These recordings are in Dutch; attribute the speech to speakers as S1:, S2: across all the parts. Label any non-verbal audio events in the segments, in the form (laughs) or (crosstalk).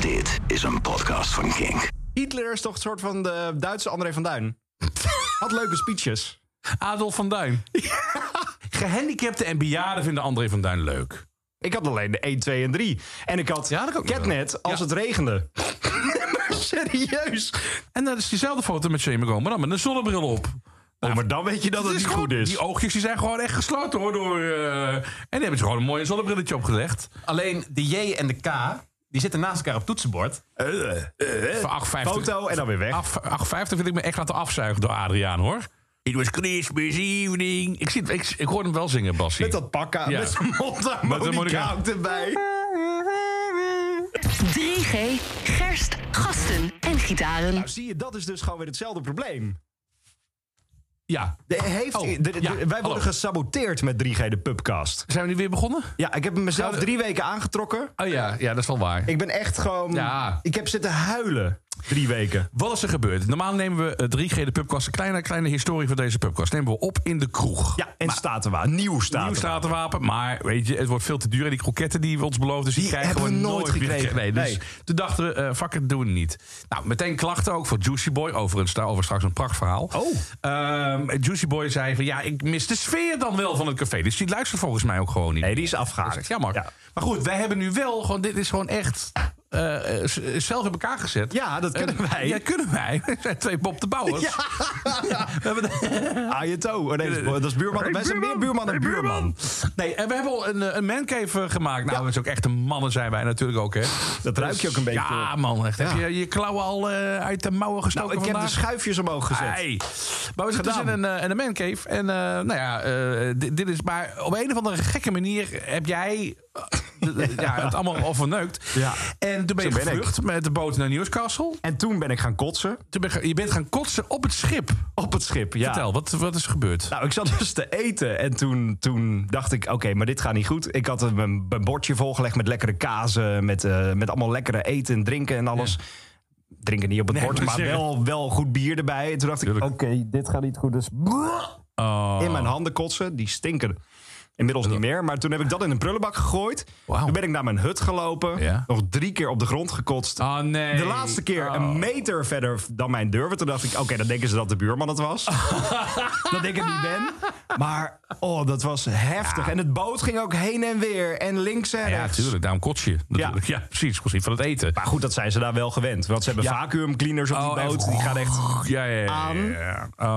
S1: Dit is een podcast van Kink.
S2: Hitler is toch een soort van de Duitse André van (laughs) Duin. Had leuke speeches.
S3: Adolf van (laughs) Duin. Gehandicapten en bejaarden vinden André van Duin leuk.
S2: Ik had alleen de 1, 2 en 3. En ik had
S3: Ja, dat kan ik
S2: Catnet als
S3: Ja.
S2: het regende. (laughs) Maar Serieus.
S3: En dat is diezelfde foto met Shane McGowan, maar dan met een zonnebril op.
S2: Oh, maar dan weet je dat het, niet
S3: gewoon-
S2: goed is.
S3: Die oogjes die zijn gewoon echt gesloten hoor. Door, eh, en die hebben ze gewoon een mooi zonnebrilletje opgelegd.
S4: Alleen de J en de K, die zitten naast elkaar op toetsenbord.
S2: Eh,
S3: Voor 8,50.
S2: Foto en dan weer weg.
S3: 8,50 vind ik me echt laten afzuigen door Adriaan hoor. It was Christmas evening. Ik, zit, ik, ik hoor hem wel zingen, Bassie.
S2: Met dat pak aan.
S3: Ja.
S2: Met zijn mondharmonica
S3: harmonica.
S2: ook erbij.
S5: 3G, gerst, gasten en gitaren.
S2: Nou zie je, dat is dus gewoon weer hetzelfde probleem.
S3: Ja.
S2: De, heeft,
S3: Oh,
S2: de- de- de-
S3: ja,
S2: wij
S3: hallo.
S2: worden gesaboteerd met 3G, de pubcast.
S3: Zijn we nu weer begonnen?
S2: Ja, ik heb hem mezelf drie weken aangetrokken.
S3: Oh ja, ja dat is wel waar.
S2: Ik ben echt gewoon...
S3: Ja.
S2: Ik heb zitten huilen. Drie weken.
S3: Wat is er gebeurd? Normaal nemen we eh, 3G de pubkast. Een kleine, kleine historie van deze pubkast. Nemen we op in de kroeg.
S2: Ja, en Statenwa. Nieuw Statenwa.
S3: Nieuw statenwapen, maar weet je, het wordt veel te duur. En die kroketten die we ons beloofden, die,
S2: Die
S3: krijgen
S2: hebben we
S3: we
S2: nooit
S3: nooit meer
S2: gekregen.
S3: Nee, dus
S2: Nee.
S3: toen dachten we, eh fuck it, doen we niet. Nou, meteen klachten ook voor Juicy Boy. Overigens, daarover straks een prachtverhaal.
S2: Oh.
S3: Ehm, Juicy Boy zei van, ja, ik mis de sfeer dan wel van het café. Dus die luistert volgens mij ook gewoon niet. Dus,
S2: Nee, die is afgehaakt.
S3: Ja, maar.
S2: Ja.
S3: Maar goed, wij hebben nu wel gewoon. Dit is gewoon echt. eh, eh, z- zelf in elkaar gezet.
S2: Ja, dat kunnen
S3: Eh,
S2: wij.
S3: (laughs) Ja, kunnen wij. We zijn twee Bob de Bouwers.
S2: Ja.
S3: We hebben (laughs) de-
S2: Ajeto. Oh, nee, dat is- dat is buurman.
S3: Hey,
S2: Wij zijn meer
S3: buurman.
S2: buurman dan
S3: Hey,
S2: buurman.
S3: Nee, en we hebben al een, eh, een mancave eh, gemaakt. Nou, dat is ook echt een mannen zijn wij natuurlijk ook, hè?
S2: Dat ruik je ook een beetje.
S3: Ja, man. Echt. Heb
S2: Ja.
S3: je je klauwen al eh, uit de mouwen gestoken
S2: nou, ik heb de
S3: vandaag?
S2: schuifjes omhoog gezet.
S3: Hey. Maar we zitten dus
S2: Gedaan.
S3: in een, eh, in een mancave. En eh, nou ja, eh, dit, dit is maar op een of andere gekke manier heb jij eh, de-
S2: (laughs)
S3: ja, het allemaal al verneukt.
S2: Ja.
S3: En toen ben je
S2: Zo ben ik.
S3: gevlucht met de boot naar Newcastle.
S2: En toen ben ik gaan kotsen
S3: Toen ben je, je bent gaan kotsen op het schip.
S2: op het schip. Ja.
S3: Vertel, wat, wat is er gebeurd?
S2: Nou, ik zat dus te eten en toen, toen dacht ik, oké, maar dit gaat niet goed. Ik had een, een bordje volgelegd met lekkere kazen, met, eh, met allemaal lekkere eten en drinken en alles. Drinken niet op het
S3: Nee,
S2: bord,
S3: ik
S2: maar
S3: wou zeggen.
S2: wel, wel goed bier erbij. En toen dacht ik, oké,
S3: Tuurlijk.
S2: dit gaat niet goed. Dus
S3: Oh.
S2: in mijn handen kotsen, die stinken. Inmiddels niet meer, maar toen heb ik dat in een prullenbak gegooid.
S3: Wauw.
S2: Toen ben ik naar mijn hut gelopen,
S3: Ja.
S2: nog drie keer op de grond gekotst.
S3: Oh, nee.
S2: De laatste keer
S3: Oh.
S2: een meter verder dan mijn deur. Want toen dacht ik, oké, dan denken ze dat de buurman het
S3: (laughs)
S2: was. dat ik het niet ben. Maar, oh, dat was heftig. En het boot ging ook heen en weer. En links en
S3: Ja,
S2: rechts.
S3: natuurlijk. Daarom kots je. natuurlijk. Ja, precies. Precies van het eten.
S2: Maar goed, dat zijn ze daar wel gewend. Want ze hebben
S3: Ja.
S2: vacuumcleaners op
S3: Oh,
S2: die boot.
S3: even-
S2: Die gaan echt...
S3: Ja, ja, ja, ja. ja.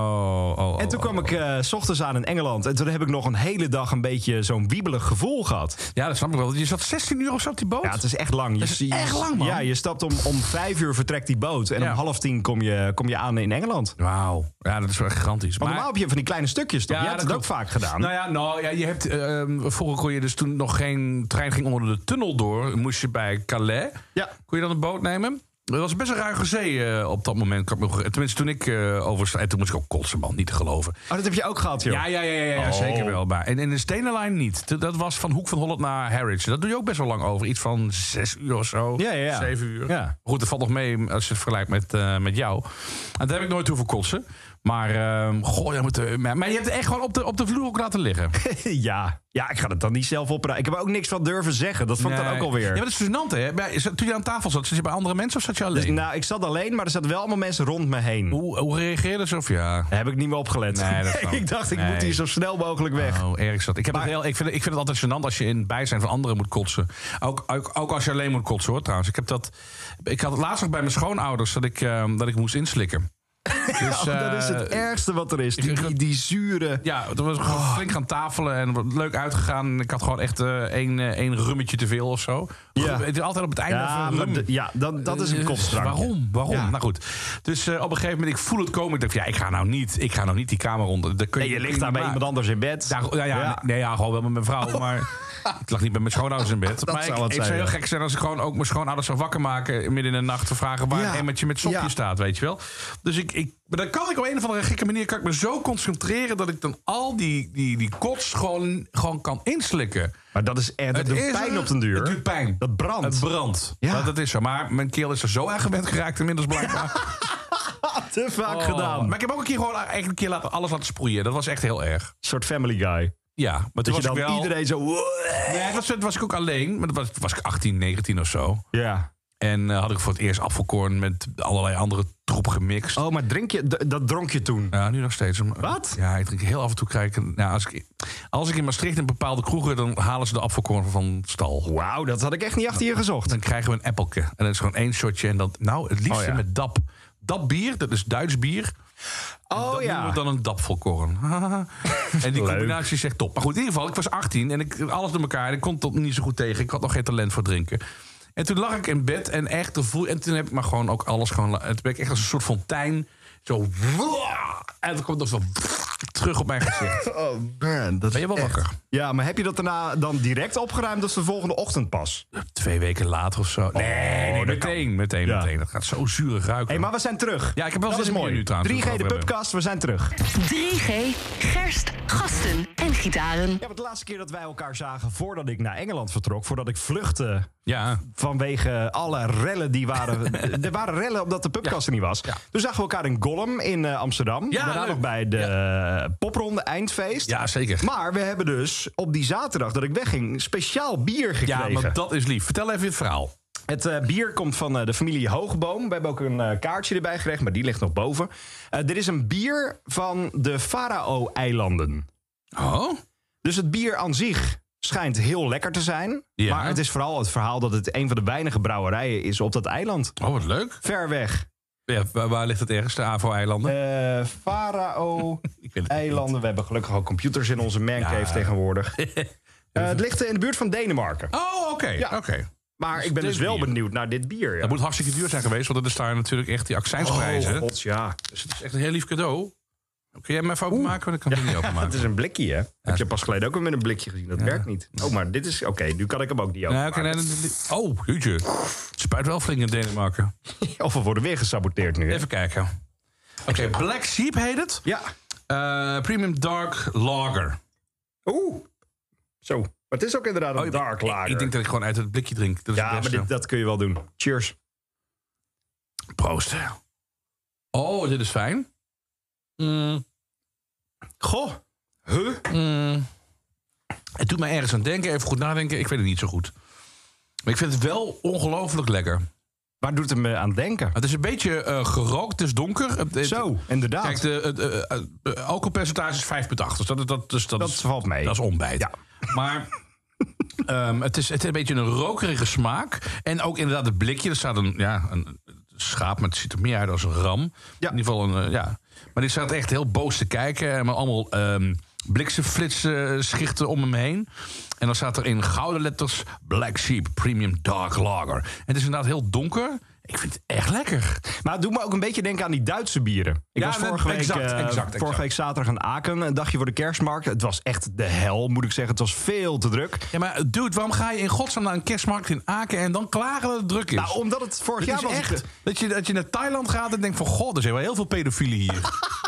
S3: Oh, oh, oh,
S2: En toen kwam ik eh, s ochtends aan in Engeland. En toen heb ik nog een hele dag een beetje zo'n wiebelig gevoel gehad.
S3: Ja, dat snap ik wel. Je zat 16 uur of zo op die boot?
S2: Ja, het is echt lang. Je,
S3: Dat is
S2: zie-
S3: echt lang, man.
S2: Ja, je stapt om, om vijf uur vertrekt die boot. En
S3: Ja.
S2: om half tien kom je, kom je aan in Engeland.
S3: Wauw. Ja, dat is wel echt gigantisch.
S2: Want normaal heb je van die kleine stukjes, toch?
S3: Ja,
S2: je hebt
S3: dat
S2: het ook
S3: klopt.
S2: vaak gedaan.
S3: Nou ja, nou, ja je hebt, eh, ehm, vroeger kon je dus toen nog geen trein ging onder de tunnel door. Moest je bij Calais.
S2: Ja.
S3: Kon je dan een boot nemen? Dat was best een ruige zee eh, op dat moment. kan ik me nog- Tenminste, toen ik eh oversta... En toen moest ik ook kotsen, man. Niet te geloven.
S2: Oh, dat heb je ook gehad, joh.
S3: Ja, ja, ja, ja, ja,
S2: Oh.
S3: zeker wel. Maar. En in de Stenenlijn niet. T- Dat was van Hoek van Holland naar Harwich. Dat doe je ook best wel lang over. Iets van zes uur of zo.
S2: Ja, ja, ja.
S3: Zeven uur.
S2: Ja.
S3: Goed, dat valt nog mee als je het vergelijkt met, eh, met jou. En daar heb ik nooit hoeven kotsen. Maar, ehm goh, ja, moet, eh, maar, maar je hebt het echt gewoon op de, op de vloer ook laten
S2: (laughs)
S3: liggen.
S2: (laughs) ja. Ja, ik ga het dan niet zelf opruimen. Ik heb er ook niks van durven zeggen. Dat vond ik dan
S3: Nee.
S2: ook alweer.
S3: Ja, maar dat is gênant, hè? Bij- is dat- Toen je aan tafel zat, zat je bij andere mensen of zat je alleen?
S2: Dus, nou, ik zat alleen, maar er zaten wel allemaal mensen rond me heen.
S3: hoe, hoe reageerde ze? Of ja...
S2: Daar heb ik niet meer opgelet. (laughs)
S3: Nee, dat kan.
S2: ik dacht, ik
S3: Nee.
S2: moet hier zo snel mogelijk weg.
S3: Oh, erg zat. Ik, heb
S2: Maar-
S3: het heel, ik, vind, ik vind het altijd gênant als je in het bijzijn van anderen moet kotsen. Ook, ook, ook als je alleen moet kotsen hoor trouwens. Ik, heb dat, ik had het laatst nog bij mijn schoonouders dat ik, ehm, dat ik moest
S2: (laughs)
S3: inslikken. Dus,
S2: Oh, dat is het
S3: eh,
S2: ergste wat er is. Die, die, die zure...
S3: Ja, toen was ik gewoon
S2: Oh.
S3: flink gaan tafelen en wat leuk uitgegaan. Ik had gewoon echt eh, één, eh, één rummetje te veel of zo.
S2: Ja.
S3: Het is altijd op het einde
S2: Ja,
S3: van
S2: maar
S3: rum.
S2: de- ja dan, dat is een
S3: Eh,
S2: kopstrang.
S3: Waarom? Waarom?
S2: Ja.
S3: Nou goed. Dus eh, op een gegeven moment, ik voel het komen. Ik dacht, ja, ik ga nou niet, ik ga nou niet die kamer onder. Dat kun
S2: Nee, je
S3: dat kun
S2: ligt daar bij
S3: niet
S2: iemand
S3: maken.
S2: anders in bed.
S3: Daar, nou ja,
S2: Ja.
S3: Nee, ja, gewoon wel met mijn vrouw.
S2: (laughs)
S3: Maar ik lag niet met mijn schoonouders in bed.
S2: Dat
S3: maar
S2: zou
S3: ik,
S2: wat
S3: ik
S2: zijn,
S3: zou heel
S2: ja.
S3: gek zijn als ik gewoon ook mijn schoonouders zou wakker maken. midden in de nacht te vragen waar
S2: Ja.
S3: een emmertje met sopje
S2: Ja.
S3: staat, weet je wel. Dus ik, ik, maar dan kan ik op een of andere gekke manier kan ik me zo concentreren. dat ik dan al die, die, die kots gewoon, gewoon kan inslikken.
S2: Maar dat is echt... Dat doet
S3: is
S2: pijn
S3: een-
S2: op den duur.
S3: Het doet pijn.
S2: Dat brandt.
S3: Het brandt.
S2: Ja.
S3: Dat, dat is zo. Maar mijn keel is er zo aan gewend geraakt inmiddels blijkbaar.
S2: Te vaak
S3: Oh.
S2: (laughs) gedaan.
S3: Maar ik heb ook een keer gewoon echt een keer laten, alles laten sproeien. Dat was echt heel erg.
S2: Een soort family guy.
S3: Ja, maar toen
S2: Dat je
S3: was
S2: dan
S3: ik wel...
S2: iedereen zo...
S3: Nee, het was, het was ik ook alleen. Maar dat was, was ik 18, 19 of zo.
S2: Ja.
S3: En eh, had ik voor het eerst afvalkorn met allerlei andere troep gemixt.
S2: Oh, maar drink je, d- dat dronk je toen?
S3: Ja, nu nog steeds.
S2: Wat?
S3: Ja, ik drink heel af en toe krijg ik... een- Nou, als, ik, als ik in Maastricht in bepaalde kroegen... dan halen ze de afvalkorn van stal.
S2: Wauw, dat had ik echt niet achter je gezocht.
S3: Dan krijgen we een appelke. En dat is gewoon één shotje. En dan, nou, het liefste
S2: Oh, ja.
S3: met dap. Dat bier, dat is Duits bier.
S2: Oh
S3: dat noemen
S2: ja.
S3: we dan een dapvolkorn. (laughs) en die combinatie is echt top. Maar goed, in ieder geval, ik was 18 en ik alles door elkaar. En ik kon tot niet zo goed tegen. Ik had nog geen talent voor drinken. En toen lag ik in bed en echt de voel. En toen heb ik maar gewoon ook alles gewoon. la- Toen ben ik echt als een soort fontein. Zo. En toen komt nog zo terug op mijn gezicht.
S2: Oh man, dat
S3: (laughs) Ben je wel wakker?
S2: Ja, maar heb je dat daarna dan direct opgeruimd? Dat is de volgende ochtend pas. Hé,
S3: Twee weken later of zo. Nee, nee,
S2: dat
S3: meteen, meteen,
S2: Ja.
S3: meteen. Dat gaat zo zuurig ruiken.
S2: hey, maar we zijn terug.
S3: Ja, ik heb wel
S2: dat
S3: zin
S2: is
S3: in
S2: mooi.
S3: bier nu trouwens,
S2: 3G
S3: we
S2: de
S3: het over
S2: pubcast, we zijn terug.
S5: 3G, gerst, gasten en gitaren.
S2: Ja, want de laatste keer dat wij elkaar zagen voordat ik naar Engeland vertrok, voordat ik vluchtte
S3: Ja.
S2: vanwege alle rellen die waren.
S3: (laughs)
S2: er waren rellen omdat de pubkast er niet was.
S3: Ja.
S2: Toen zagen we elkaar in Gollum in eh, Amsterdam.
S3: Ja,
S2: Daarna
S3: leuk.
S2: nog bij de eh, popronde eindfeest.
S3: ja, zeker.
S2: Maar we hebben dus op die zaterdag dat ik wegging speciaal bier
S3: Ja,
S2: gekregen.
S3: maar dat is lief. Vertel even het verhaal.
S2: Het eh, bier komt van eh, de familie Hoogboom. We hebben ook een eh, kaartje erbij gerecht, maar die ligt nog boven. Eh, dit is een bier van de Farao-eilanden.
S3: Oh?
S2: Dus het bier aan zich schijnt heel lekker te zijn.
S3: Ja.
S2: Maar het is vooral het verhaal dat het een van de weinige brouwerijen is op dat eiland.
S3: Oh, wat leuk.
S2: Ver weg.
S3: Ja, waar, waar ligt het ergens? De AVO-eilanden?
S2: Eh Farao...
S3: Ik weet het niet.
S2: Eilanden, we hebben gelukkig ook computers in onze mancave
S3: (laughs)
S2: tegenwoordig. Eh, het ligt eh, in de buurt van Denemarken.
S3: Oh, oké.
S2: Ja.
S3: oké.
S2: Maar ik ben
S3: dit
S2: dus wel
S3: bier.
S2: benieuwd naar dit bier. Ja.
S3: Dat moet hartstikke duur zijn geweest, want dat is daar natuurlijk echt die accijnsprijzen.
S2: Oh, god, ja.
S3: Dus het is echt een heel lief cadeau. Kun jij hem even openmaken? Want ik kan hem niet
S2: Het (laughs)
S3: openmaken.
S2: is een blikje, hè? Heb je pas geleden ook weer met een blikje gezien? Dat werkt niet. Oh, maar dit is... Oké, nu kan ik hem ook niet
S3: Nee,
S2: openmaken.
S3: oké, nee, nee, nee. oh, jeetje. Het spuit wel flink in
S2: (laughs)
S3: Denemarken.
S2: Of we worden weer gesaboteerd nu, hè?
S3: Even kijken. Oké, Black Sheep heet het.
S2: Ja.
S3: Eh, Premium Dark Lager.
S2: Oeh. Zo. Maar het is ook inderdaad een
S3: Oh,
S2: dark
S3: ik-
S2: lager.
S3: Ik, denk dat ik gewoon uit het blikje drink. Dat
S2: ja,
S3: is het
S2: maar
S3: beste.
S2: dit, dat kun je wel doen. Cheers.
S3: Proost. Oh, dit is fijn.
S2: Goh. Huh?
S3: Het doet mij ergens aan denken. Even goed nadenken. Ik weet het niet zo goed. Maar ik vind het wel ongelooflijk lekker.
S2: Waar doet het me aan denken?
S3: Het is een beetje eh, gerookt, het is donker. Het- het-
S2: Zo, inderdaad.
S3: Kijk, de, het, eh, eh, eh, alcoholpercentage is 5,8. Dus dat, dat, dat, is- dat,
S2: dat
S3: is,
S2: valt mee.
S3: dat is ontbijt. Maar (laughs) ehm, het, is, het is een beetje een rokerige smaak. En ook inderdaad het blikje. Er staat een, ja, een schaap, maar het ziet er meer uit als een ram.
S2: Ja.
S3: In ieder geval een, eh, ja. Maar die staat echt heel boos te kijken. En met allemaal ehm bliksemflitsen eh, schichten om hem heen. En dan staat er in gouden letters Black Sheep Premium Dark Lager. En het is inderdaad heel donker. Ik vind het echt lekker.
S2: Maar het doet me ook een beetje denken aan die Duitse bieren. Ik
S3: Ja,
S2: was
S3: dat-
S2: vorige week,
S3: exact,
S2: eh,
S3: exact, exact.
S2: vorige week zaterdag aan Aken. Een dagje voor de kerstmarkt. Het was echt de hel, moet ik zeggen. Het was veel te druk.
S3: Ja, maar dude, waarom ga je in godsnaam naar een kerstmarkt in Aken en dan klagen dat het druk is?
S2: Nou, omdat het vorig
S3: Het
S2: jaar
S3: is
S2: was.
S3: echt dat je, dat je naar Thailand gaat en denkt van... God, er zijn wel heel veel pedofielen hier. (laughs)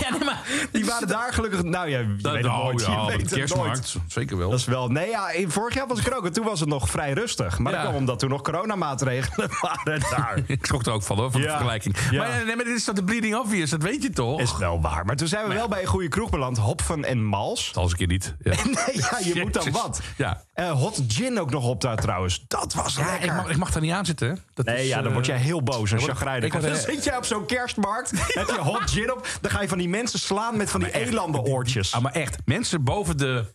S3: ja, nee, maar...
S2: Die waren daar gelukkig... Nou ja, je weet het
S3: oh,
S2: nooit. Je
S3: ja,
S2: weet
S3: de
S2: het
S3: kerstmarkt,
S2: nooit.
S3: zeker wel.
S2: Dat is wel... Nee, ja, in- vorig jaar was ik er ook. En toen was het nog vrij rustig. Maar
S3: Ja.
S2: dat kwam omdat toen nog coronamaatregelen (laughs) waren daar.
S3: (laughs) Ik schrok er ook van, hoor, van de
S2: Ja.
S3: vergelijking.
S2: Ja.
S3: Maar, eh, nee, maar dit is dat de bleeding obvious, dat weet je toch?
S2: Is wel waar. Maar toen zijn we wel bij een goede kroeg beland. Hopfen en Mals. (laughs)
S3: Als ik je niet. Ja.
S2: Nee, ja, je moet dan
S3: Jezus.
S2: wat.
S3: Ja.
S2: Eh, hot gin ook nog op daar trouwens. Dat was
S3: Ja, ik,
S2: lekker.
S3: mag, ik mag daar niet aan zitten. hè. Dat
S2: Nee,
S3: is,
S2: ja, dan
S3: eh,
S2: word jij heel boos en
S3: dan word ik-
S2: chagrijnig.
S3: ik
S2: Dan
S3: word-
S2: zit jij op zo'n (laughs) kerstmarkt, heb je hot gin op... dan ga je van die mensen slaan met van die elandenoortjes.
S3: Ah, maar echt, mensen boven de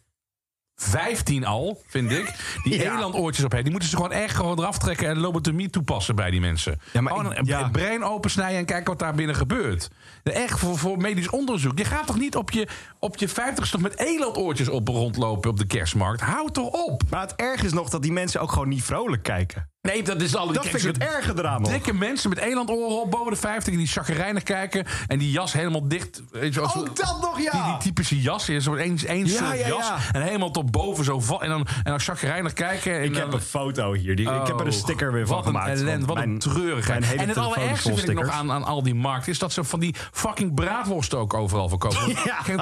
S3: 15 al, vind ik, die
S2: Ja.
S3: elandoortjes op hebben, die moeten ze gewoon echt gewoon eraf trekken en lobotomie toepassen bij die mensen.
S2: Ja, maar
S3: gewoon
S2: ik-
S3: een
S2: ja.
S3: het brein opensnijden en kijken wat daar binnen gebeurt. Echt voor, voor medisch onderzoek. Je gaat toch niet op je, op je 50ste met elandoortjes op rondlopen op de kerstmarkt? Hou toch op!
S2: Maar het erg is nog dat die mensen ook gewoon niet vrolijk kijken.
S3: Nee, dat is al
S2: Dat vind ik het erger eraan nog.
S3: Dikke mensen met elandoren op boven de 50 die chagrijnig kijken en die jas helemaal dicht. Weet je, als-
S2: Ook Oh, dat nog, ja!
S3: die, die typische jas is. Zo'n één, één
S2: Ja,
S3: soort
S2: ja, ja.
S3: jas. En helemaal tot boven zo. va- En dan, en dan chagrijnig kijken. En
S2: ik heb
S3: dan, Oh,
S2: een foto hier. Die, ik heb er een sticker weer van
S3: wat
S2: gemaakt.
S3: Een
S2: want
S3: ellende, wat een
S2: mijn-
S3: treurigheid.
S2: mijn hele
S3: en het
S2: telefoon is
S3: allerergste
S2: vol
S3: vind ik nog
S2: stickers.
S3: aan, aan al die markten... is dat ze van die fucking braadworsten ook
S2: (laughs)
S3: overal verkopen. Wat Geen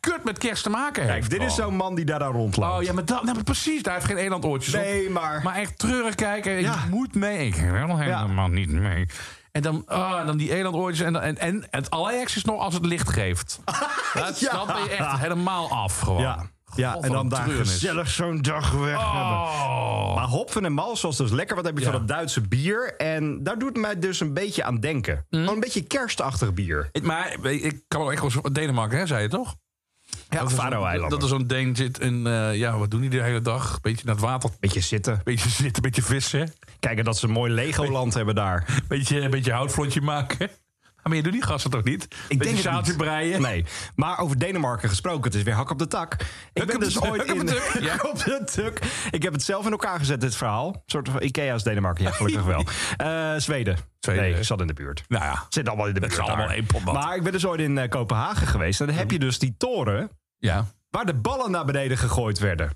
S3: kut met kerst te maken heeft.
S2: Kijk, dit is
S3: gewoon.
S2: zo'n man die daar aan rondloopt.
S3: Oh ja, maar dat, nee, maar precies. Daar heeft geen elandoortjes op.
S2: Nee, maar-
S3: Maar echt treurig kijken.
S2: Ja.
S3: Je moet mee. Ik wil helemaal niet mee. En dan, ah, en dan die elandoortjes. En, dan- en, en het allerergste is nog als het licht geeft.
S2: (laughs)
S3: dat,
S2: Ja.
S3: Dan ben je echt helemaal af gewoon.
S2: Ja. Ja,
S3: God,
S2: en
S3: wat
S2: dan
S3: een
S2: daar
S3: treurnis.
S2: gezellig zo'n dag weg hebben.
S3: Oh.
S2: Maar Hopfen en Malz was dus lekker. Wat heb je
S3: Ja.
S2: van dat Duitse bier? En daar doet mij dus een beetje aan denken. Gewoon een beetje kerstachtig bier.
S3: Ik- Maar ik- ik kan wel echt wel... zo- Denemarken, hè, zei je toch?
S2: Ja,
S3: Dat er zo'n-
S2: Faroe-eilanden.
S3: Dat er zo'n Deen zit en... eh, ja, wat doen die de hele dag? Beetje naar het water.
S2: Beetje zitten.
S3: Beetje zitten, beetje vissen.
S2: Kijken dat ze een mooi Legoland hebben daar.
S3: Beetje, beetje houtvlotje maken. (laughs) Maar je doet die gasten toch niet? Ik beetje
S2: het
S3: zaaltje
S2: niet.
S3: breien.
S2: Nee. Maar over Denemarken gesproken, het is weer hak op de tak. Ik ben
S3: op
S2: dus
S3: de-
S2: ooit
S3: hak op
S2: in...
S3: de tak, ja.
S2: (laughs) hak op de tak. Ik heb het zelf in elkaar gezet, dit verhaal. Een soort van Ikea is Denemarken, ja,
S3: (laughs)
S2: gelukkig wel. Eh, Zweden.
S3: Zweden.
S2: Nee, ik zat in de buurt.
S3: Nou ja.
S2: Zit allemaal in de
S3: Dat
S2: buurt
S3: is allemaal
S2: daar.
S3: één pot nat.
S2: Maar ik ben dus ooit in eh, Kopenhagen geweest. En dan heb je dus die toren
S3: ja.
S2: waar de ballen naar beneden gegooid werden.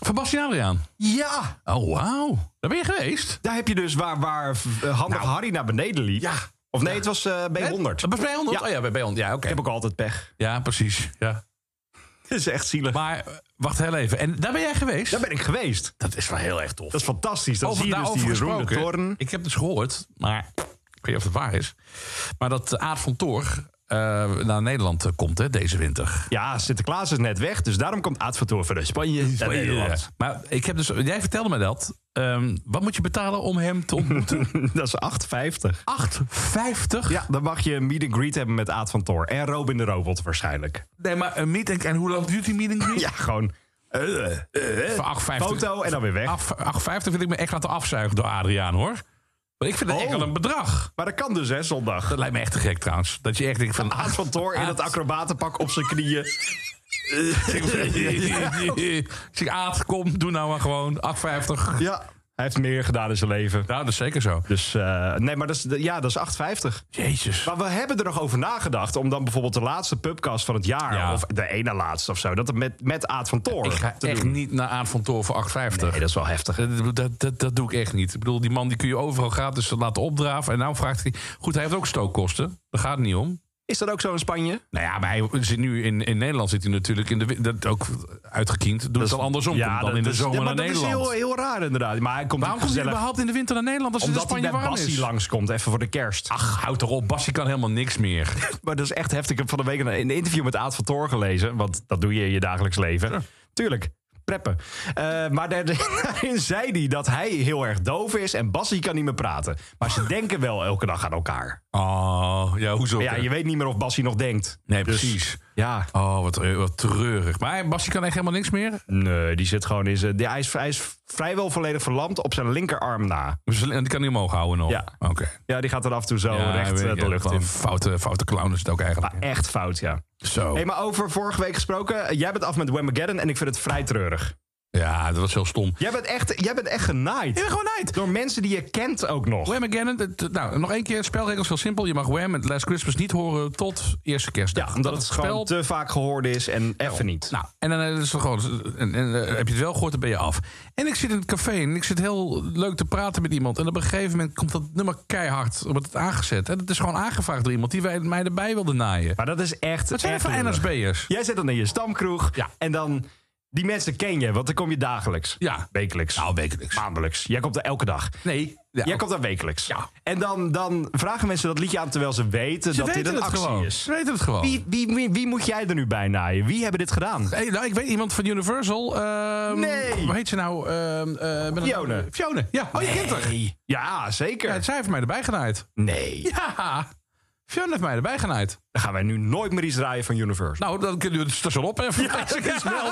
S3: Van Bastiaan Adriaan.
S2: Ja!
S3: Oh, wauw. Daar ben je geweest?
S2: Daar heb je dus waar, waar eh, handig Harry naar beneden liep.
S3: Nou. Ja.
S2: Of nee, het was eh, B100.
S3: Dat was bij 100?
S2: Ja.
S3: Oh ja, bij- bij 100. Ja, oké.
S2: Ik heb ook altijd
S3: (laughs)
S2: pech.
S3: Ja, precies. Ja.
S2: Het is echt zielig.
S3: Maar eh, wacht heel even. En daar ben jij geweest?
S2: Daar ben ik geweest.
S3: Dat is wel heel erg tof.
S2: Dat is fantastisch. Dan
S3: Over,
S2: zie je dus
S3: daarover
S2: die Jeroen de
S3: gesproken.
S2: Toren.
S3: Ik heb dus gehoord, maar ik weet niet of het waar is. Maar dat eh, Aad van Toor eh, naar Nederland eh, komt hè, deze winter.
S2: Ja, Sinterklaas is net weg. Dus daarom komt Aad van Toor vanuit Spanje naar Nederland.
S3: Maar ik heb dus, jij vertelde me dat. Ehm, wat moet je betalen om hem te
S2: (laughs)
S3: ontmoeten?
S2: (laughs) Dat is 8,50.
S3: 8,50?
S2: Ja, dan mag je een meet and greet hebben met Aad van Toor. En Robin de Robot waarschijnlijk.
S3: Nee, maar een meeting. En hoe lang duurt die meeting?
S2: Ja, gewoon... eh, eh, eh,
S3: Voor 8,50.
S2: foto en dan weer weg.
S3: Af- 8,50 vind ik me echt laten afzuigen door Adriaan hoor. Maar ik vind dat
S2: Oh.
S3: echt wel een bedrag.
S2: Maar dat kan dus, hè, zondag.
S3: Dat lijkt me echt te gek trouwens. Dat je echt denkt van. ah,
S2: Aad (laughs) van Toor in
S3: Aad.
S2: dat acrobatenpak op zijn knieën.
S3: (laughs) Ik zeg, Aad, kom, doe nou maar gewoon. 8,50.
S2: Ja. Hij heeft meer gedaan in zijn leven.
S3: Nou, dat is zeker zo.
S2: Dus eh, nee, maar dat is, ja, dat is 8,50.
S3: Jezus.
S2: Maar we hebben er nog over nagedacht om dan bijvoorbeeld de laatste pubcast van het jaar...
S3: Ja.
S2: of de ene laatste of zo, dat het met, met Aad van Toor
S3: Ik ga
S2: te
S3: echt
S2: doen.
S3: niet naar Aad van Toor voor 8,50.
S2: Nee, dat is wel heftig.
S3: dat, dat, dat, dat doe ik echt niet. Ik bedoel, die man die kun je overal gratis laten opdraven. En nou vraagt hij... Goed, hij heeft ook stookkosten. Daar gaat het niet om.
S2: Is dat ook zo in Spanje?
S3: Nou ja, maar hij zit nu in, in Nederland zit hij natuurlijk in de wi- dat ook uitgekiend. Doet het al andersom komt dan
S2: dat-
S3: in de
S2: dat is-
S3: zomer
S2: ja, maar
S3: naar Nederland.
S2: dat is heel, heel raar inderdaad. Maar hij komt
S3: Waarom komt hij
S2: gezellig,
S3: überhaupt in de winter naar Nederland als
S2: omdat
S3: het in
S2: hij
S3: Spanje
S2: bij
S3: warm is?
S2: Bassie langskomt, even voor de kerst.
S3: Ach, houd toch op. Bassie kan helemaal
S2: (laughs)
S3: niks meer.
S2: Maar dat is echt heftig. Ik heb van de week een een interview met Aad van Toor gelezen. Want dat doe je in je dagelijks leven. Tuurlijk. Preppen. Eh, maar daar- (laughs) daarin zei hij dat hij heel erg doof is en Bassie kan niet meer praten. Maar ze denken wel elke dag aan elkaar.
S3: Oh, ja, hoezo?
S2: Maar ja, je weet niet meer of Bassie nog denkt.
S3: Nee,
S2: Dus-
S3: precies.
S2: Ja.
S3: Oh, wat, eh, wat treurig. Maar Bassie kan echt helemaal niks meer.
S2: Nee, die zit gewoon in zijn. die- Hij is, hij is vrijwel volledig verlamd op zijn linkerarm na.
S3: Dus- En die kan niet omhoog houden nog.
S2: Ja.
S3: Oké.
S2: Ja, die gaat er af en toe zo
S3: Ja,
S2: recht
S3: weet
S2: eh,
S3: ik,
S2: de lucht
S3: gewoon
S2: in.
S3: Foute, foute clown is het ook eigenlijk.
S2: Echt fout, ja.
S3: Zo.
S2: Hey, maar over vorige week gesproken. eh, Jij bent af met Whamageddon en ik vind het vrij treurig.
S3: Ja, dat was heel stom.
S2: Jij bent echt, jij bent echt genaaid.
S3: Ik ben gewoon uit.
S2: Door mensen die je kent ook nog.
S3: Wham again. het- het- Nou, nog één keer. Spelregels heel simpel. Je mag Wham en Last Christmas niet horen tot eerste kerstdag.
S2: Ja, omdat het gewoon te vaak gehoord is en even niet.
S3: Nou, en dan eh, is het gewoon, en, en, eh, heb je het wel gehoord, dan ben je af. En ik zit in het café en ik zit heel leuk te praten met iemand. En op een gegeven moment komt dat nummer keihard, wordt het aangezet. En dat is gewoon aangevraagd door iemand die wij, mij erbij wilde naaien.
S2: Maar dat is echt.
S3: Dat zijn
S2: echt
S3: even
S2: lullig.
S3: NSB'ers.
S2: Jij zit dan in je stamkroeg
S3: Ja.
S2: en dan. Die mensen ken je, want dan kom je dagelijks.
S3: Ja.
S2: Wekelijks.
S3: Nou, wekelijks.
S2: Maandelijks. Jij komt er elke dag.
S3: Nee. Ja,
S2: Jij komt daar wekelijks.
S3: Ja.
S2: En dan, dan vragen mensen dat liedje aan terwijl ze weten
S3: ze
S2: dat
S3: weten
S2: dit een
S3: het
S2: actie
S3: gewoon.
S2: is.
S3: Ze weten het gewoon.
S2: Wie, wie, wie, wie moet jij er nu bij naaien? Wie hebben dit gedaan?
S3: Hey, nou, ik weet iemand van Universal. ehm,
S2: Nee.
S3: Hoe heet ze nou? ehm, eh, met een-
S2: Fiona.
S3: Fiona, ja. Oh, je kent haar.
S2: Ja, zeker.
S3: Ja, zij heeft mij erbij genaaid.
S2: Nee.
S3: Ja. Fiona heeft mij erbij genaaid.
S2: Dan gaan wij nu nooit meer iets draaien van Universal.
S3: Nou, dan kunnen we het station opheffen. Ja,
S2: (laughs)
S3: (laughs)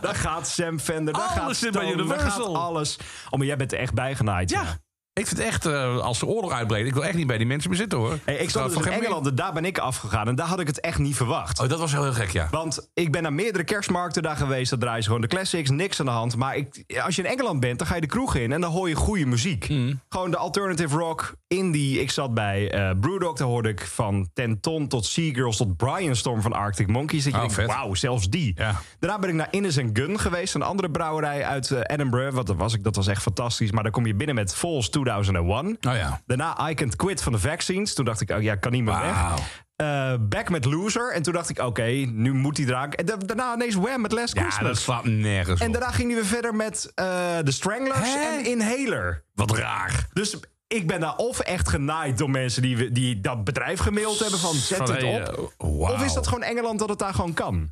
S2: Daar gaat Sam Fender, daar
S3: Alles
S2: gaat
S3: zit
S2: Stone,
S3: bij Universal.
S2: Daar gaat alles. Oh, maar jij bent er echt bijgenaaid.
S3: Ja. Ik vind echt, eh, als de oorlog uitbreekt, ik wil echt niet bij die mensen meer zitten hoor.
S2: Hey, ik
S3: Trouwens,
S2: stond dus in
S3: geen
S2: Engeland en daar ben ik afgegaan. En daar had ik het echt niet verwacht.
S3: meer- Oh, dat was heel, heel gek, ja.
S2: Want ik ben naar meerdere kerstmarkten daar geweest. Daar draaien ze gewoon de classics, niks aan de hand. Maar ik, als je in Engeland bent, dan ga je de kroeg in en dan hoor je goede muziek.
S3: Mm.
S2: Gewoon de alternative rock, indie. Ik zat bij eh Brewdog, daar hoorde ik van Tenton tot Seagirls tot Brian Storm van Arctic Monkeys. Dat je
S3: Oh,
S2: denkt,
S3: vet.
S2: wauw, zelfs die.
S3: Ja.
S2: Daarna ben ik naar Innis Gun geweest, een andere brouwerij uit eh, Edinburgh. Wat dat was ik, dat was echt fantastisch. Maar dan kom je binnen met Falls 2001.
S3: Oh ja.
S2: Daarna I Can't Quit van de Vaccines. Toen dacht ik, oh ja, kan niet meer
S3: Wauw.
S2: weg. Eh, back met Loser. En toen dacht ik, oké, nu moet hij eraan. En da- daarna ineens Wham met Last
S3: Ja,
S2: Christmas.
S3: dat slaat nergens
S2: En
S3: op.
S2: daarna ging hij weer verder met eh The Stranglers
S3: Hè?
S2: en Inhaler.
S3: Wat raar.
S2: Dus ik ben daar of echt genaaid door mensen die, we- die dat bedrijf gemaild hebben van zet
S3: Van,
S2: het
S3: hey,
S2: op.
S3: eh, wauw.
S2: Of is dat gewoon Engeland dat het daar gewoon kan?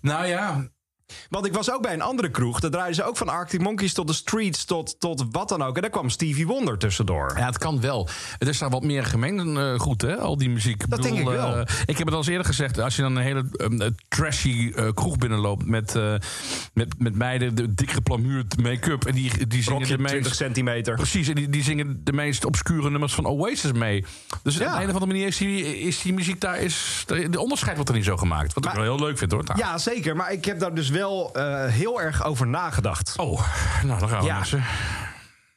S3: Nou ja,
S2: Want ik was ook bij een andere kroeg. Daar draaiden ze ook van Arctic Monkeys tot de Streets tot, tot wat dan ook. En daar kwam Stevie Wonder tussendoor.
S3: Ja, het kan wel. Er is daar wat meer gemengd eh, goed, hè? Al die muziek.
S2: Dat denk ik wel.
S3: eh, ik heb het al eens eerder gezegd. Als je dan een hele ehm, eh, trashy eh, kroeg binnenloopt met, eh, met, met meiden, de, dik geplamuurd make-up. En die, die zingen
S2: Rokje
S3: de
S2: 20
S3: meest...
S2: centimeter.
S3: Precies, en die, die zingen de meest obscure nummers van Oasis mee. Dus
S2: Ja.
S3: op een of andere manier is die, is die muziek daar... Is, de onderscheid wordt er niet zo gemaakt. Wat ik
S2: Maar-
S3: wel heel leuk vind, hoor. trouwens.
S2: Ja, zeker. Maar ik heb daar dus wel eh, heel erg over nagedacht.
S3: Oh, nou, dan gaan we,
S2: Ja.
S3: mensen.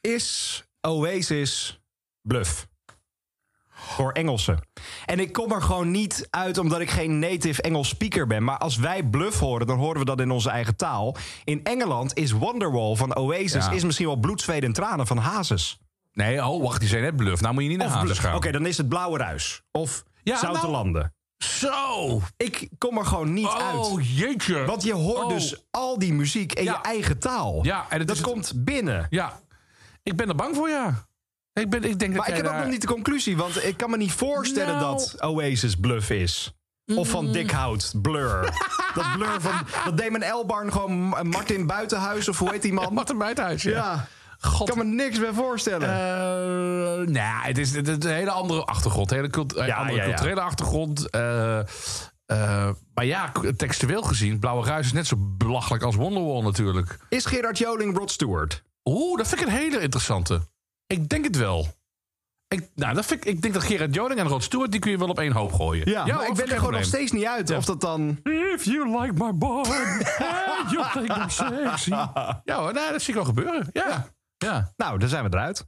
S2: Is Oasis bluff? Voor Engelsen. En ik kom er gewoon niet uit omdat ik geen native Engels speaker ben. Maar als wij bluff horen, dan horen we dat in onze eigen taal. In Engeland is Wonderwall van Oasis
S3: Ja.
S2: is misschien wel bloed, zweet en tranen van Hazes.
S3: Nee, oh, wacht, die zijn net bluff. Nou moet je niet naar
S2: Of
S3: Hazes
S2: bluff. Oké,
S3: gaan.
S2: dan is het Blauwe Ruis. Of
S3: Ja,
S2: Zoute
S3: nou-
S2: Landen.
S3: Zo!
S2: Ik kom er gewoon niet uit.
S3: Oh, jeetje.
S2: Want je hoort
S3: Oh.
S2: dus al die muziek in
S3: Ja.
S2: je eigen taal.
S3: Ja, en het
S2: dat
S3: is het-
S2: komt binnen.
S3: Ja, ik ben er bang voor, ja. Ik, ben, ik denk dat
S2: Maar ik
S3: jij
S2: heb ook
S3: daar-
S2: nog
S3: (laughs)
S2: niet de conclusie, want ik kan me niet voorstellen
S3: Nou.
S2: dat Oasis bluff is. Of van Dikhout, Blur. dat Blur van dat Damon Elbarn gewoon Ma- Martin Buitenhuis of hoe heet die man?
S3: Martin Buitenhuis, ja.
S2: Ja, ik
S3: God.
S2: kan me niks bij voorstellen.
S3: Eh, nou, ja, het is, het is een hele andere achtergrond. Hele cult- eh,
S2: Ja,
S3: andere
S2: ja, ja.
S3: culturele achtergrond. eh, eh, maar ja, k- textueel gezien, Blauwe Ruis is net zo belachelijk als Wonderwall natuurlijk.
S2: Is Gerard Joling Rod Stewart?
S3: Oeh, dat vind ik een hele interessante. Ik denk het wel. Ik, nou, dat vind ik, ik denk dat Gerard Joling en Rod Stewart... die kun je wel op één hoop gooien.
S2: Ja, maar
S3: hoor,
S2: ik ben er
S3: geen
S2: gewoon nog
S3: probleem.
S2: steeds niet uit of dat dan...
S3: If you like my boy, and you think I'm sexy. (laughs) Ja hoor, nou, dat zie ik wel gebeuren. Ja. ja.
S2: Nou, daar zijn we eruit.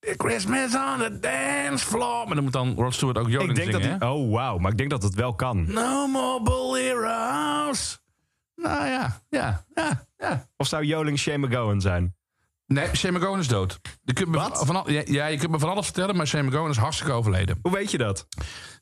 S3: Christmas on the dance floor. Maar dan moet dan Rod Stewart ook Joden
S2: Ik denk
S3: zingen,
S2: dat die... Oh, wauw, maar ik denk dat het wel kan.
S3: hè? No more boleros. Nou ja, ja, ja, ja.
S2: Of zou Joling Shane McGowan zijn?
S3: Nee, Shane McGowan is dood. Je kunt me
S2: Wat?
S3: Van, al- ja, ja, je kunt me van alles vertellen, maar Shane McGowan is hartstikke overleden.
S2: Hoe weet je dat?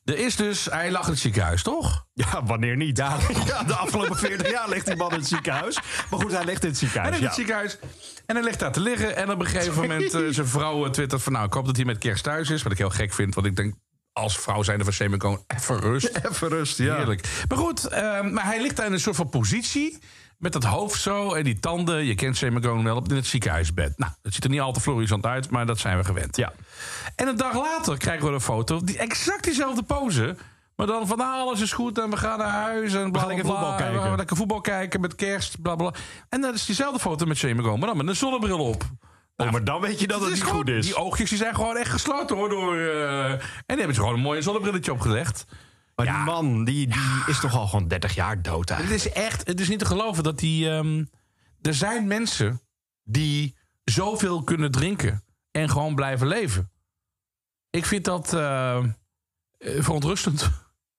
S3: Er is dus, hij lag in het ziekenhuis, toch?
S2: Ja, wanneer niet? Ja. (laughs) de afgelopen 40 jaar ligt die man in het ziekenhuis. Maar goed, hij ligt in het
S3: Hij
S2: ziekenhuis.
S3: ligt in het
S2: ja.
S3: ziekenhuis en hij ligt daar te liggen. En op een gegeven moment eh, zijn vrouw eh, twittert van... nou, ik hoop dat hij met kerst thuis is. Wat ik heel gek vind, want ik denk... als vrouw zijnde van Semen gewoon even rust.
S2: (laughs) Even rust, ja.
S3: Heerlijk. Maar goed, ehm, maar hij ligt daar in een soort van positie... met dat hoofd zo en die tanden. Je kent Semen gewoon wel op- in het ziekenhuisbed. Nou, dat ziet er niet al te florissant uit, maar dat zijn we gewend.
S2: Ja.
S3: En een dag later krijgen we een foto, die exact diezelfde pose... Maar dan van nou, alles is goed en we gaan naar huis en bla,
S2: gaan lekker
S3: bla,
S2: voetbal
S3: bla,
S2: kijken.
S3: We gaan lekker voetbal kijken met kerst, bla bla. En dat is diezelfde foto met Shane McGowan, maar dan met een zonnebril op.
S2: Oh, maar dan weet je dat het, niet
S3: gewoon-
S2: goed is.
S3: Die oogjes die zijn gewoon echt gesloten hoor. Door, eh, en die hebben ze gewoon een mooie zonnebrilletje opgelegd.
S2: maar die man, die, die is toch al gewoon 30 jaar dood
S3: Het
S2: eigenlijk.
S3: is echt, het is niet te geloven dat die. ehm, er zijn mensen die zoveel kunnen drinken en gewoon blijven leven. Ik vind dat eh, eh, verontrustend.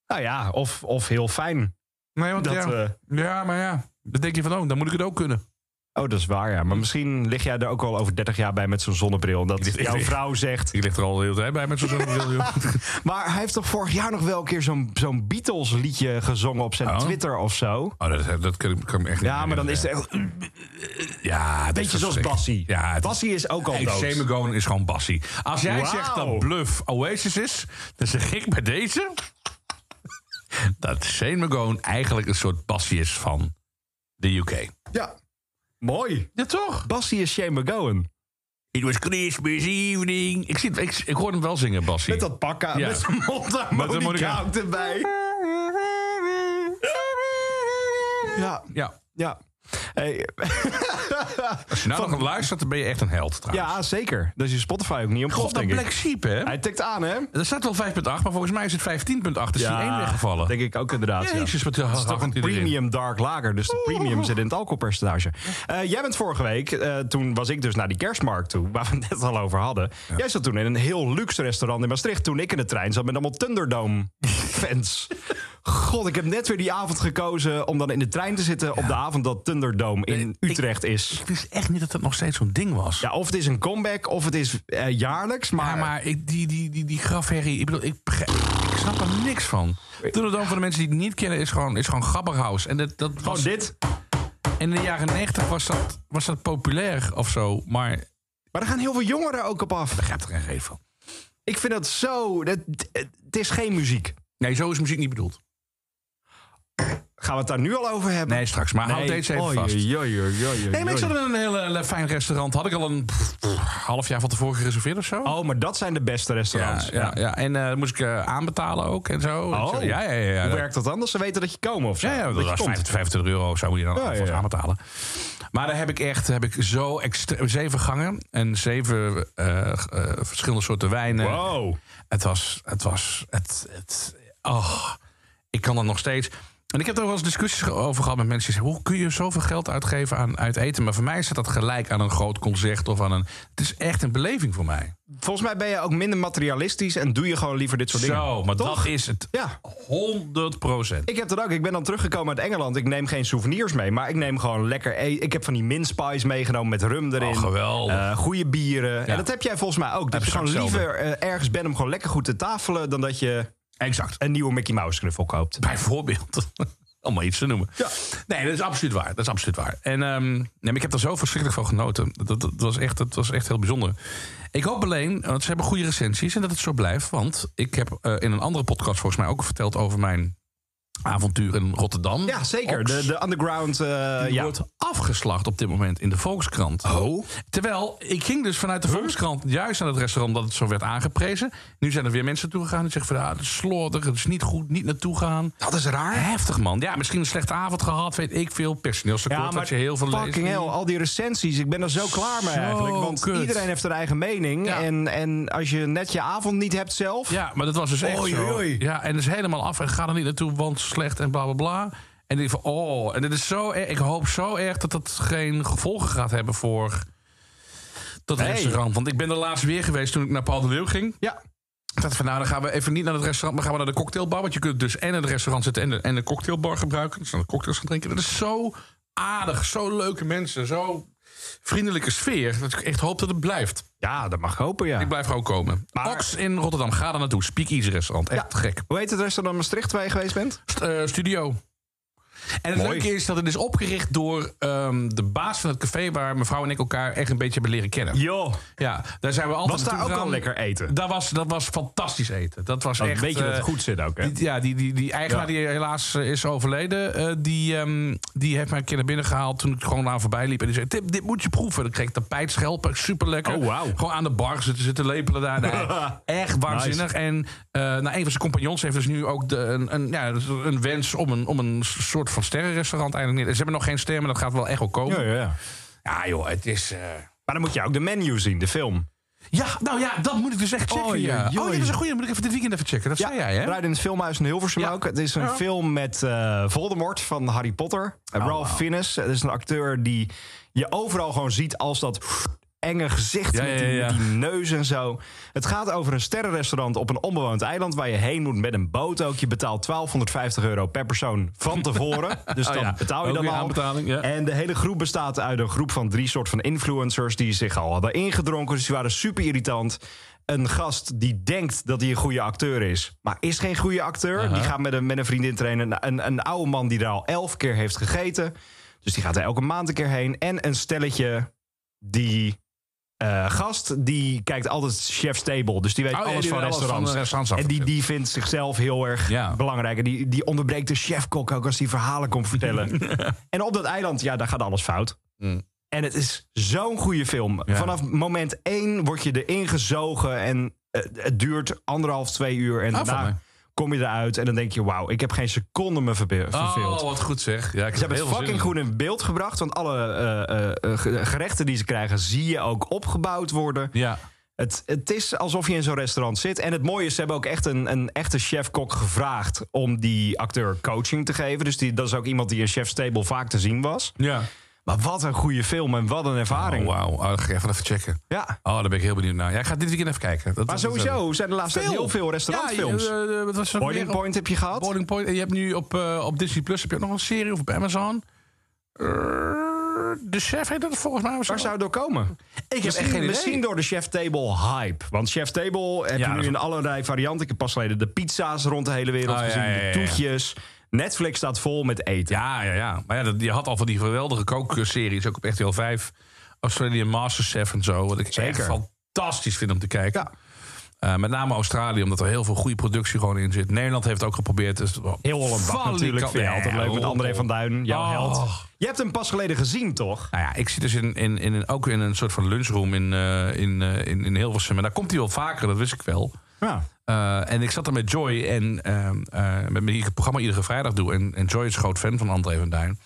S2: Nou ja, of, of heel fijn.
S3: Nee, want
S2: Dat,
S3: ja,
S2: eh,
S3: ja, maar ja. Dan denk je van, oh, dan moet ik het ook kunnen.
S2: Oh, dat is waar, ja. Maar misschien lig jij er ook al over 30 jaar bij met zo'n zonnebril. En dat (laughs)
S3: lig- ik
S2: jouw
S3: lig-
S2: vrouw zegt...
S3: Ik lig er al heel tijd bij (laughs) met zo'n zonnebril. joh.
S2: Maar hij heeft toch vorig jaar nog wel een keer zo'n zo'n Beatles-liedje gezongen op zijn
S3: Oh.
S2: Twitter of zo?
S3: Oh, dat, dat kan, ik, kan ik me echt niet
S2: Ja, maar dan is het echt een
S3: het... Ja, dat is
S2: beetje zoals
S3: verschrikkelijk.
S2: Bassie.
S3: Ja, het is-
S2: Bassie is ook al
S3: Hey,
S2: dood.
S3: Shane McGowan is gewoon Bassie. Als jij
S2: Wauw.
S3: zegt dat Bluff Oasis is, dan zeg ik bij deze... dat Shane McGowan eigenlijk een soort Bassie is van de UK.
S2: Ja. Mooi.
S3: Ja, toch?
S2: Bassie is Shane McGowan.
S3: It was Christmas evening. Ik, zit, ik, ik hoor hem wel zingen, Bassie.
S2: Met dat pak aan,
S3: Ja.
S2: met zijn
S3: Met de
S2: mondharmonica
S3: monica.
S2: ook erbij. Ja,
S3: Ja.
S2: ja. Hey,
S3: Als je nou nog aan het luistert, dan ben je echt een held trouwens.
S2: ja, zeker. Dat is je Spotify ook niet om
S3: Of
S2: kost,
S3: dat
S2: denk
S3: Black
S2: ik.
S3: Sheep, hè?
S2: Hij tikt aan, hè?
S3: Er staat wel 5.8, maar volgens mij is het 15.8. Is die één weggevallen?
S2: Denk ik ook inderdaad, ja.
S3: Jezus, wat
S2: Het is toch een premium dark lager, dus de premium zit in het alcoholpercentage. Eh, jij bent vorige week, eh, toen was ik dus naar die kerstmarkt toe, waar we het net al over hadden. Jij zat toen in een heel luxe restaurant in Maastricht, toen ik in de trein zat met allemaal Thunderdome-fans. God, ik heb net weer die avond gekozen om dan in de trein te zitten op de avond dat Thunderdome in
S3: ik-
S2: Utrecht is.
S3: Ik wist echt niet dat dat nog steeds zo'n ding was.
S2: Ja, of het is een comeback, of het is eh, jaarlijks, maar...
S3: maar maar ik, die, die, die, die grafherrie, ik bedoel, ik, begrijp- ik snap er niks van. Thunderdome voor de mensen die het niet kennen is gewoon, is gewoon Gabberhaus. En dat, dat
S2: Oh,
S3: was,
S2: dit.
S3: in de jaren 90 was dat, was dat populair of zo. Maar ik
S2: Maar er gaan heel veel jongeren ook op af.
S3: begrijp er geen reet van.
S2: Ik vind dat zo... dat- Het het is geen muziek.
S3: Nee, zo is muziek niet bedoeld.
S2: Gaan we het daar nu al over hebben?
S3: Nee, straks. Maar houd deze even vast. Nee, maar ik zat in een heel eh, fijn restaurant. Had ik al een pff, half jaar van tevoren gereserveerd of zo.
S2: Oh, maar dat zijn de beste
S3: ja,
S2: restaurants.
S3: ja, ja. En eh, moest ik eh, aanbetalen ook en zo.
S2: Oh.
S3: Ja, ja, ja. ja.
S2: Hoe werkt dat anders? Ze weten dat je komen of zo.
S3: Ja, ja,
S2: je
S3: dat was
S2: komt.
S3: 25, 25 euro of zo moet je dan
S2: Ja,
S3: alvast
S2: ja, ja.
S3: aanbetalen. Maar daar heb ik echt heb ik zo extreem zeven gangen en zeven eh, eh, verschillende soorten wijnen.
S2: Wow.
S3: Het was, het was, het, het, oh, ik kan dat nog steeds. En ik heb er wel eens discussies ge- over gehad met mensen die zeggen: hoe kun je zoveel geld uitgeven aan uit eten? Maar voor mij staat dat gelijk aan een groot concert of aan een. Het is echt een beleving voor mij.
S2: Volgens mij ben je ook minder materialistisch en doe je gewoon liever dit soort dingen.
S3: Zo, maar
S2: Toch?
S3: dat is het.
S2: Ja.
S3: 100 procent.
S2: Ik heb dat ook. Ik ben dan teruggekomen uit Engeland. Ik neem geen souvenirs mee, maar ik neem gewoon lekker eten. Ik heb van die min spice meegenomen met rum erin.
S3: Oh, geweldig.
S2: Eh, goede bieren. En
S3: Ja.
S2: dat heb jij volgens mij ook. Dat je
S3: exact
S2: gewoon liever eh, ergens bent om gewoon lekker goed te tafelen... dan dat je
S3: Exact.
S2: een nieuwe Mickey Mouse knuffel koopt.
S3: Bijvoorbeeld. (laughs) Om maar iets te noemen. Nee, dat is absoluut waar. Dat is absoluut waar. En ehm, nee, maar ik heb er zo verschrikkelijk van genoten. Dat, dat, dat was echt, dat was echt heel bijzonder. Ik hoop alleen, want ze hebben goede recensies en dat het zo blijft. Want ik heb eh, in een andere podcast volgens mij ook verteld over mijn avontuur in Rotterdam.
S2: Ja, zeker.
S3: Oks.
S2: De, de underground... eh,
S3: Die
S2: ja.
S3: wordt afgeslacht op dit moment in de Volkskrant.
S2: Oh.
S3: Terwijl, ik ging dus vanuit de Volkskrant juist aan het restaurant dat het zo werd aangeprezen. Nu zijn er weer mensen toe gegaan die zeggen van, ah, het is slordig, het is niet goed, niet naartoe gaan.
S2: Dat is raar.
S3: Heftig man. Ja, misschien een slechte avond gehad, weet ik veel. Personeelstekort
S2: Ja, maar
S3: had je heel veel
S2: fucking hell,
S3: lezen.
S2: al die recensies. Ik ben er zo klaar mee
S3: Zo
S2: eigenlijk. Want
S3: kut.
S2: iedereen heeft zijn eigen mening.
S3: Ja.
S2: En, en als je net je avond niet hebt zelf...
S3: Ja, maar dat was dus echt
S2: Oei,
S3: zo.
S2: oei.
S3: Ja, en het is helemaal af en ga er niet naartoe, want slecht en bla bla bla. En ik van, oh, en dit is zo erg. Ik hoop zo erg dat dat geen gevolgen gaat hebben voor dat
S2: Nee.
S3: restaurant. Want ik ben er laatst weer geweest toen ik naar Paul de Leeuw ging.
S2: ja.
S3: Ik dacht van nou, dan gaan we even niet naar het restaurant, maar gaan we naar de cocktailbar. Want je kunt dus en in het restaurant zitten en de, en de cocktailbar gebruiken. Dus dan de cocktails gaan drinken. Dat is zo aardig, zo leuke mensen, zo vriendelijke sfeer. Dat ik echt hoop dat het blijft.
S2: Ja, dat mag hopen, ja.
S3: Ik blijf gewoon komen.
S2: Maar-
S3: Ox in Rotterdam, ga daar naartoe. Speakeasy restaurant, echt
S2: Ja.
S3: gek.
S2: Hoe heet het restaurant Maastricht waar je geweest bent?
S3: St- eh, studio. En het
S2: Mooi.
S3: leuke is dat het is opgericht door ehm, de baas van het café... waar mevrouw en ik elkaar echt een beetje hebben leren kennen.
S2: Joh.
S3: Ja, daar zijn we altijd
S2: Was daar
S3: naartoe
S2: ook al
S3: gegaan.
S2: lekker eten?
S3: Dat was, dat was fantastisch eten. Dat was
S2: Dan
S3: echt...
S2: weet je dat het
S3: eh,
S2: goed zit ook, hè?
S3: Die, ja, die, die, die eigenaar
S2: Ja.
S3: die helaas eh, is overleden, eh, die, ehm, die heeft mij een keer naar binnen gehaald toen ik gewoon aan voorbij liep. En die zei: Tim, dit moet je proeven. Dan kreeg ik tapijtschelpen, super lekker.
S2: Oh, wauw.
S3: Gewoon aan de bar zitten, zitten lepelen daar. (laughs) Nee, echt waanzinnig. En eh nou, een van zijn compagnons heeft dus nu ook de, een, een, ja, dus een wens om een, om een soort van sterrenrestaurant eigenlijk neer. Ze hebben nog geen sterren, maar dat gaat wel echt wel komen. Ja,
S2: ja.
S3: joh, het is. eh,
S2: Maar dan moet je ook de menu zien, de film.
S3: Ja, nou ja, dat moet ik dus echt checken.
S2: Oei,
S3: ja.
S2: oei,
S3: Oh, ja, dat is een goede. Moet ik even dit weekend even checken. Dat zei jij, hè?
S2: Draait in het filmhuis in Hilversum
S3: Ja. Oh.
S2: ook. Het is een
S3: Ja.
S2: film met eh, Voldemort van Harry Potter.
S3: Oh,
S2: En Ralph Fiennes. Het is een acteur die je overal gewoon ziet als dat enge gezicht
S3: Ja,
S2: met
S3: ja,
S2: die,
S3: ja.
S2: die neus en zo. Het gaat over een sterrenrestaurant op een onbewoond eiland... waar je heen moet met een boot ook. Je betaalt 1250 euro per persoon van
S3: (laughs)
S2: tevoren. dus dan
S3: Oh ja.
S2: betaal je
S3: Ook
S2: dan
S3: weer
S2: al.
S3: aanbetaling, ja.
S2: En de hele groep bestaat uit een groep van drie soort van influencers... die zich al hadden ingedronken, dus die waren super irritant. Een gast die denkt dat hij een goede acteur is, maar is geen goede acteur. Die gaat met een, met een vriendin trainen. Een, een, een oude man die daar al elf keer heeft gegeten. Dus die gaat er elke maand een keer heen. En een stelletje die eh, gast, die kijkt altijd chef's table. Dus die weet
S3: Oh, ja,
S2: alles
S3: die
S2: van
S3: weet alles van
S2: restaurants.
S3: de restaurants af.
S2: en die, die vindt zichzelf heel erg
S3: Ja.
S2: belangrijk. En die, die onderbreekt de chefkok ook als die verhalen komt
S3: (laughs)
S2: vertellen. en op dat eiland, ja, daar gaat alles fout.
S3: Mm.
S2: En het is zo'n goede film. Vanaf moment één word je erin gezogen. En eh, het duurt anderhalf, twee uur. En
S3: Ah, van
S2: daarna
S3: mij.
S2: kom je eruit. En dan denk je, wauw, ik heb geen seconde me verbe- verveeld.
S3: Oh, wat goed zeg. Ja, ik
S2: Ze hebben het fucking goed in beeld gebracht. Want alle eh, eh, eh, ge- gerechten die ze krijgen, zie je ook opgebouwd worden.
S3: Ja.
S2: Het, het is alsof je in zo'n restaurant zit. En het mooie is, ze hebben ook echt een, een echte chef-kok gevraagd om die acteur coaching te geven. Dus die, dat is ook iemand die in Chef's Table vaak te zien was.
S3: Ja.
S2: Maar wat een goede film en wat een
S3: Oh,
S2: ervaring.
S3: wauw. Oh, dat ga ik even even checken.
S2: Ja.
S3: Oh, daar ben ik heel benieuwd naar. Ja, ik ga dit weekend even kijken. Dat-
S2: Maar
S3: dat-
S2: sowieso zijn er laatst
S3: dat-
S2: heel veel restaurantfilms.
S3: Ja, eh, eh, wat was er ook
S2: Boiling
S3: weer?
S2: Point heb je gehad.
S3: Boiling Point. En je hebt nu op, eh, op Disney Plus heb je ook nog een serie of op Amazon. Eh, de chef heet dat volgens mij. of zo.
S2: Waar zou het door komen? Ik
S3: heb echt geen idee.
S2: Misschien door de Chef Table hype. Want Chef Table heb
S3: Ja,
S2: je
S3: dat
S2: nu
S3: is-
S2: in allerlei varianten. Ik heb pas geleden de pizza's rond de hele wereld
S3: Oh, ja,
S2: gezien.
S3: ja, ja, ja.
S2: De toetjes. Netflix staat vol met eten.
S3: Ja, ja, ja. Maar ja, dat- je had al van die geweldige kookseries. Ook op RTL 5. Australian Masterchef en zo. Wat ik
S2: Zeker.
S3: echt fantastisch vind om te kijken. Eh, met name Australië, omdat er heel veel goede productie gewoon in zit. Nederland heeft het ook geprobeerd. Dus
S2: Heel Holland Bak natuurlijk. Vind je altijd leuk met André van Duin, jouw
S3: Oh.
S2: held. Je hebt hem pas geleden gezien, toch?
S3: Nou ja, ik zit dus in, in, in een, ook in een soort van lunchroom in, eh, in, eh, in, in Hilversum. En daar komt hij wel vaker, dat wist ik wel.
S2: Ja.
S3: Eh, en ik zat daar met Joy en ehm, eh, met wie ik het programma iedere vrijdag doe. En, en Joy is groot fan van André van Duin.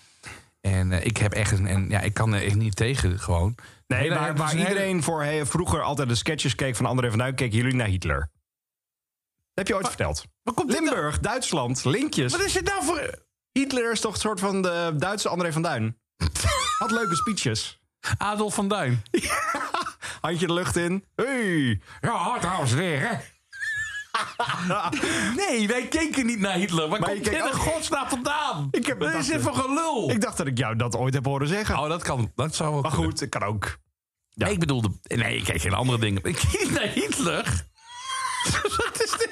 S3: En eh, ik heb echt een, en, ja, ik kan er echt niet tegen gewoon.
S2: Nee,
S3: Hele-
S2: waar,
S3: het is
S2: waar
S3: een hele-
S2: iedereen voor hey, vroeger altijd de sketches keek van André van Duin, keken jullie naar Hitler. Dat heb je ooit verteld.
S3: komt dit nou?
S2: Limburg, Duitsland, linkjes.
S3: Wat is het nou voor?
S2: Hitler is toch een soort van de Duitse André van Duin.
S3: (laughs)
S2: Had leuke speeches.
S3: Adolf van Duin.
S2: Handje de lucht in. Hey.
S3: Ja, trouwens weer, hè? (laughs) nee, wij keken niet naar Hitler. Waar
S2: Maar
S3: komt
S2: je
S3: dit
S2: keek
S3: in
S2: ook-
S3: godsnaam vandaan?
S2: Ik heb
S3: Dit
S2: het
S3: is dit voor gelul?
S2: Ik dacht dat ik jou dat ooit heb horen zeggen.
S3: Oh, dat kan. Dat zou wel
S2: maar
S3: kunnen.
S2: goed, ik kan ook. ja.
S3: Nee, ik bedoelde... Nee, ik keek geen andere dingen. Ik keek naar Hitler. (laughs) Wat is dit?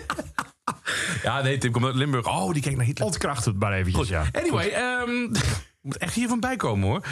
S3: Ja, nee, Tim komt uit Limburg. Oh, die keek naar Hitler.
S2: Ontkracht het maar eventjes, ja.
S3: Anyway, ehm, moet echt hiervan bijkomen hoor.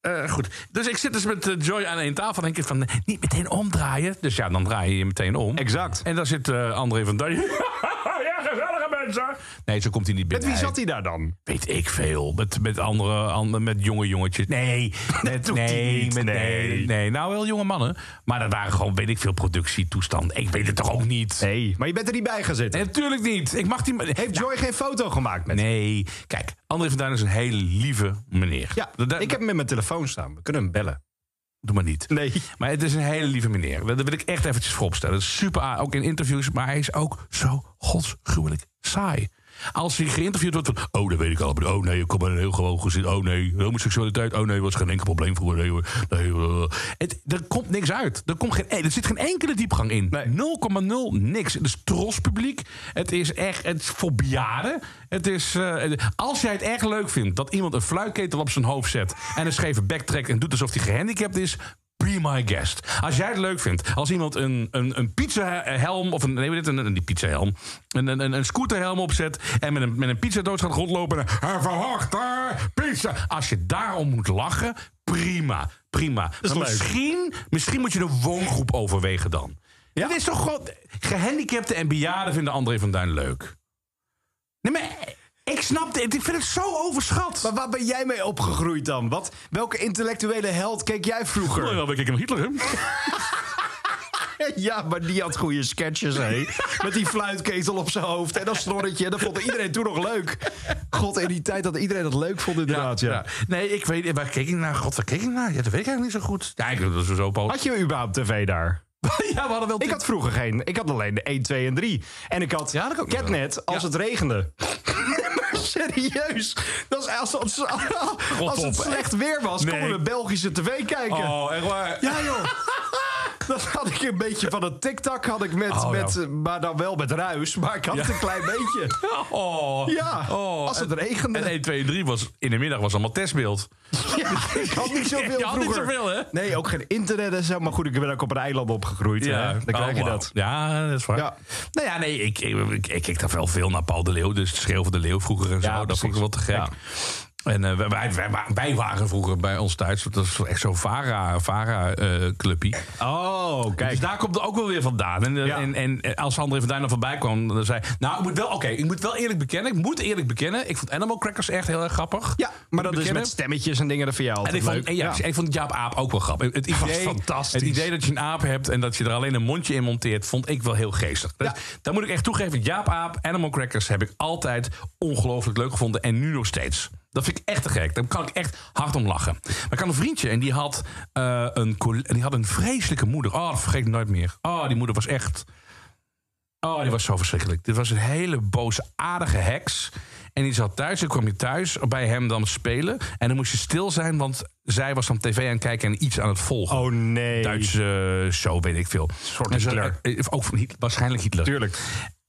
S3: Eh, goed, dus ik zit dus met eh, Joy aan één tafel en denk ik van eh, niet meteen omdraaien. Dus ja, dan draai je je meteen om.
S2: Exact.
S3: En daar zit eh, André van Duin. (laughs) ja, gezellige mensen. Nee, zo komt hij niet
S2: Met
S3: binnen.
S2: wie
S3: Hij-
S2: zat hij daar dan?
S3: Weet ik veel. Met, met andere, ander- met jonge
S2: (laughs)
S3: jongetjes. Nee, met,
S2: doet hij
S3: nee,
S2: niet,
S3: met, nee.
S2: nee.
S3: nee, Nou, wel jonge mannen. Maar dat waren gewoon, weet ik veel, productietoestanden. Ik weet het toch ook niet? Nee,
S2: Nee, maar je bent er niet bij gaan zitten.
S3: natuurlijk niet. Ik mag die...
S2: Heeft Joy geen foto gemaakt met
S3: Nee. Kijk, André van Duin is een hele lieve meneer.
S2: Ja,
S3: Dat- dat-
S2: ik heb hem in mijn telefoon staan. We kunnen hem bellen.
S3: Doe maar niet.
S2: Nee.
S3: Maar het is een hele lieve meneer. Dat wil ik echt eventjes vooropstellen. Dat is super, aardig, ook in interviews. Maar hij is ook zo godsgruwelijk saai. Als hij geïnterviewd wordt van... Oh, dat weet ik al. Oh nee, ik kom uit een heel gewoon gezin. Oh nee, homoseksualiteit. Oh nee, was geen enkel probleem voor Nee hoor. Nee, hoor. Het, er komt niks uit. Er, komt geen, eh, er zit geen enkele diepgang in. 0,0 niks. Het is trospubliek. Het is echt... Het is voor bejaarden. Het is... eh, als jij het erg leuk vindt dat iemand een fluitketel op zijn hoofd zet... en een scheve bek trekt en doet alsof hij gehandicapt is... Be my guest. Als jij het leuk vindt, als iemand een, een, een pizzahelm of een. Nee, weet je dit? Een, een, die pizzahelm. Een, een, een- een scooterhelm opzet en met een, met een pizzadoos gaat rondlopen. En "Hij verhoogd, hè, pizza. Als je daarom moet lachen, prima. Prima. Maar
S2: leuk.
S3: misschien, misschien moet je de woongroep overwegen dan. Ja? Dit is toch gewoon. Gehandicapten en bejaarden vinden André van Duin leuk. Nee, maar ik snap dit. Ik vind het zo overschat.
S2: Maar waar ben jij mee opgegroeid dan? Wat, welke intellectuele held keek jij
S3: Oh,
S2: vroeger?
S3: ja, ik hem Hitler, hè?
S2: (laughs) Ja, maar die had goede sketches, hé. (laughs) Met die fluitketel op zijn hoofd en dat snorretje. Dat vond iedereen toen nog leuk. God, in die tijd dat iedereen dat leuk vond inderdaad, ja.
S3: Nee, ik weet Waar keek ik naar? God, waar keek ik naar? Ja, dat weet ik eigenlijk niet zo goed. Ja, ik dat is zo
S2: Had je überhaupt tv daar?
S3: Ja, we hadden wel...
S2: Ik had vroeger geen. Ik had alleen de 1, 2 en 3. En ik had
S3: Ja, dat ook nog
S2: Catnet als
S3: Ja.
S2: het regende. (laughs) Maar Serieus. Dat is als, als, als het
S3: op, hè?
S2: slecht weer was,
S3: Nee.
S2: konden we Belgische tv kijken.
S3: Oh, echt waar?
S2: Ja, joh. (laughs) Dat had ik een beetje van een TikTok had ik met,
S3: Oh,
S2: met
S3: ja.
S2: eh, maar dan wel met ruis, maar ik had het een (laughs) klein beetje.
S3: Oh.
S2: Ja,
S3: Oh.
S2: als het regende.
S3: En
S2: (laughs)
S3: 1, 2 en 3 was... In de middag was allemaal testbeeld.
S2: Ja, ik had niet (laughs) zoveel
S3: Je had niet
S2: vroeger.
S3: zoveel, hè?
S2: Nee, ook geen internet en zo, maar goed, ik ben ook op een eiland opgegroeid. hè. Dan
S3: Oh,
S2: krijg je
S3: wauw.
S2: dat.
S3: Ja, dat is waar.
S2: Ja.
S3: Nou ja, nee, ik, ik, ik, ik keek daar wel veel naar Paul de Leeuw. Dus het Schreeuw van de Leeuw vroeger en zo. dat
S2: precies.
S3: vond ik wel te gek.
S2: Ja.
S3: En eh, wij, wij, wij, wij waren vroeger bij ons thuis. Dat was echt zo'n VARA-clubje. vara eh, clubpie.
S2: Oh,
S3: Dus daar komt het ook wel weer vandaan. En, eh,
S2: Ja.
S3: en, en eh, als André van Duin er voorbij kwam, dan zei hij, Nou, ik moet wel, oké, ik moet wel eerlijk bekennen. Ik moet eerlijk bekennen. Ik vond Animal Crackers echt heel erg grappig.
S2: Ja, maar dat is
S3: Bekennen.
S2: met stemmetjes en dingen, dat vind jij
S3: En
S2: altijd
S3: ik vond,
S2: leuk.
S3: en ja, ik vond Jaap Aap ook wel grappig. Het idee,
S2: (laughs) fantastisch.
S3: het idee dat je een aap hebt en dat je er alleen een mondje in monteert, vond ik wel heel geestig. Dus Daar moet ik echt toegeven. Jaap Aap, Animal Crackers heb ik altijd ongelooflijk leuk gevonden. En nu nog steeds. Dat vind ik echt te gek. Daar kan ik echt hard om lachen. Maar ik had een vriendje en die had, eh, een, coll- en die had een vreselijke moeder. Oh, dat vergeet ik nooit meer. Oh, die moeder was echt... Oh, die was zo verschrikkelijk. Dit was een hele boosaardige heks. En die zat thuis. En kwam je thuis bij hem dan spelen. En dan moest je stil zijn, want zij was dan tv aan het kijken en iets aan het volgen.
S2: Oh nee.
S3: Duitse eh, show, weet ik veel.
S2: Soort
S3: En ze-
S2: Hitler.
S3: eh, Ook van Hitler, waarschijnlijk Hitler.
S2: Tuurlijk.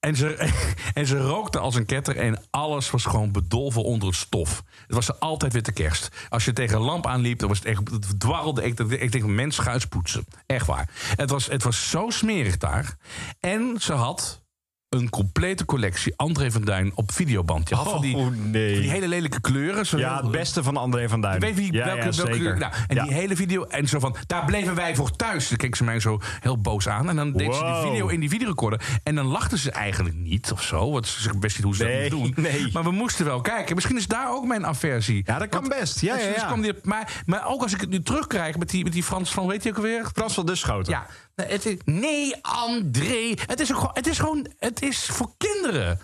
S3: En ze, (laughs) en ze rookte als een ketter en alles was gewoon bedolven onder het stof. Het was er altijd witte kerst. Als je tegen een lamp aanliep, dan was het echt, het dwarrelde. Ik, ik denk, mens, ga eens poetsen. Echt waar. Het was, het was zo smerig daar. En ze had een complete collectie André van Duin op videoband. Je had van die,
S2: Oh, nee.
S3: van die hele lelijke kleuren. zo-
S2: Ja, het beste van André van Duin.
S3: Weet wie,
S2: ja,
S3: welke,
S2: ja,
S3: welke
S2: zeker.
S3: kleur- nou, en
S2: Ja.
S3: die hele video. En zo van, daar bleven wij voor thuis. Dan keek ze mij zo heel boos aan. En dan deed ze
S2: Wow.
S3: die video in die videorecorder. En dan lachten ze eigenlijk niet of zo. Want ze wisten niet hoe ze
S2: Nee,
S3: dat moeten doen.
S2: nee.
S3: Maar we moesten wel kijken. Misschien is daar ook mijn aversie.
S2: Ja, dat kan
S3: Want-
S2: best. Ja,
S3: dus-
S2: ja,
S3: dus
S2: ja.
S3: kwam die- maar, maar ook als ik het nu terugkrijg met die, met die Frans van, weet je ook weer?
S2: Frans van Duschoten.
S3: Ja. Nee, het is- nee, André. Het is, ook, gewoon- het is gewoon, het is voor kinderen.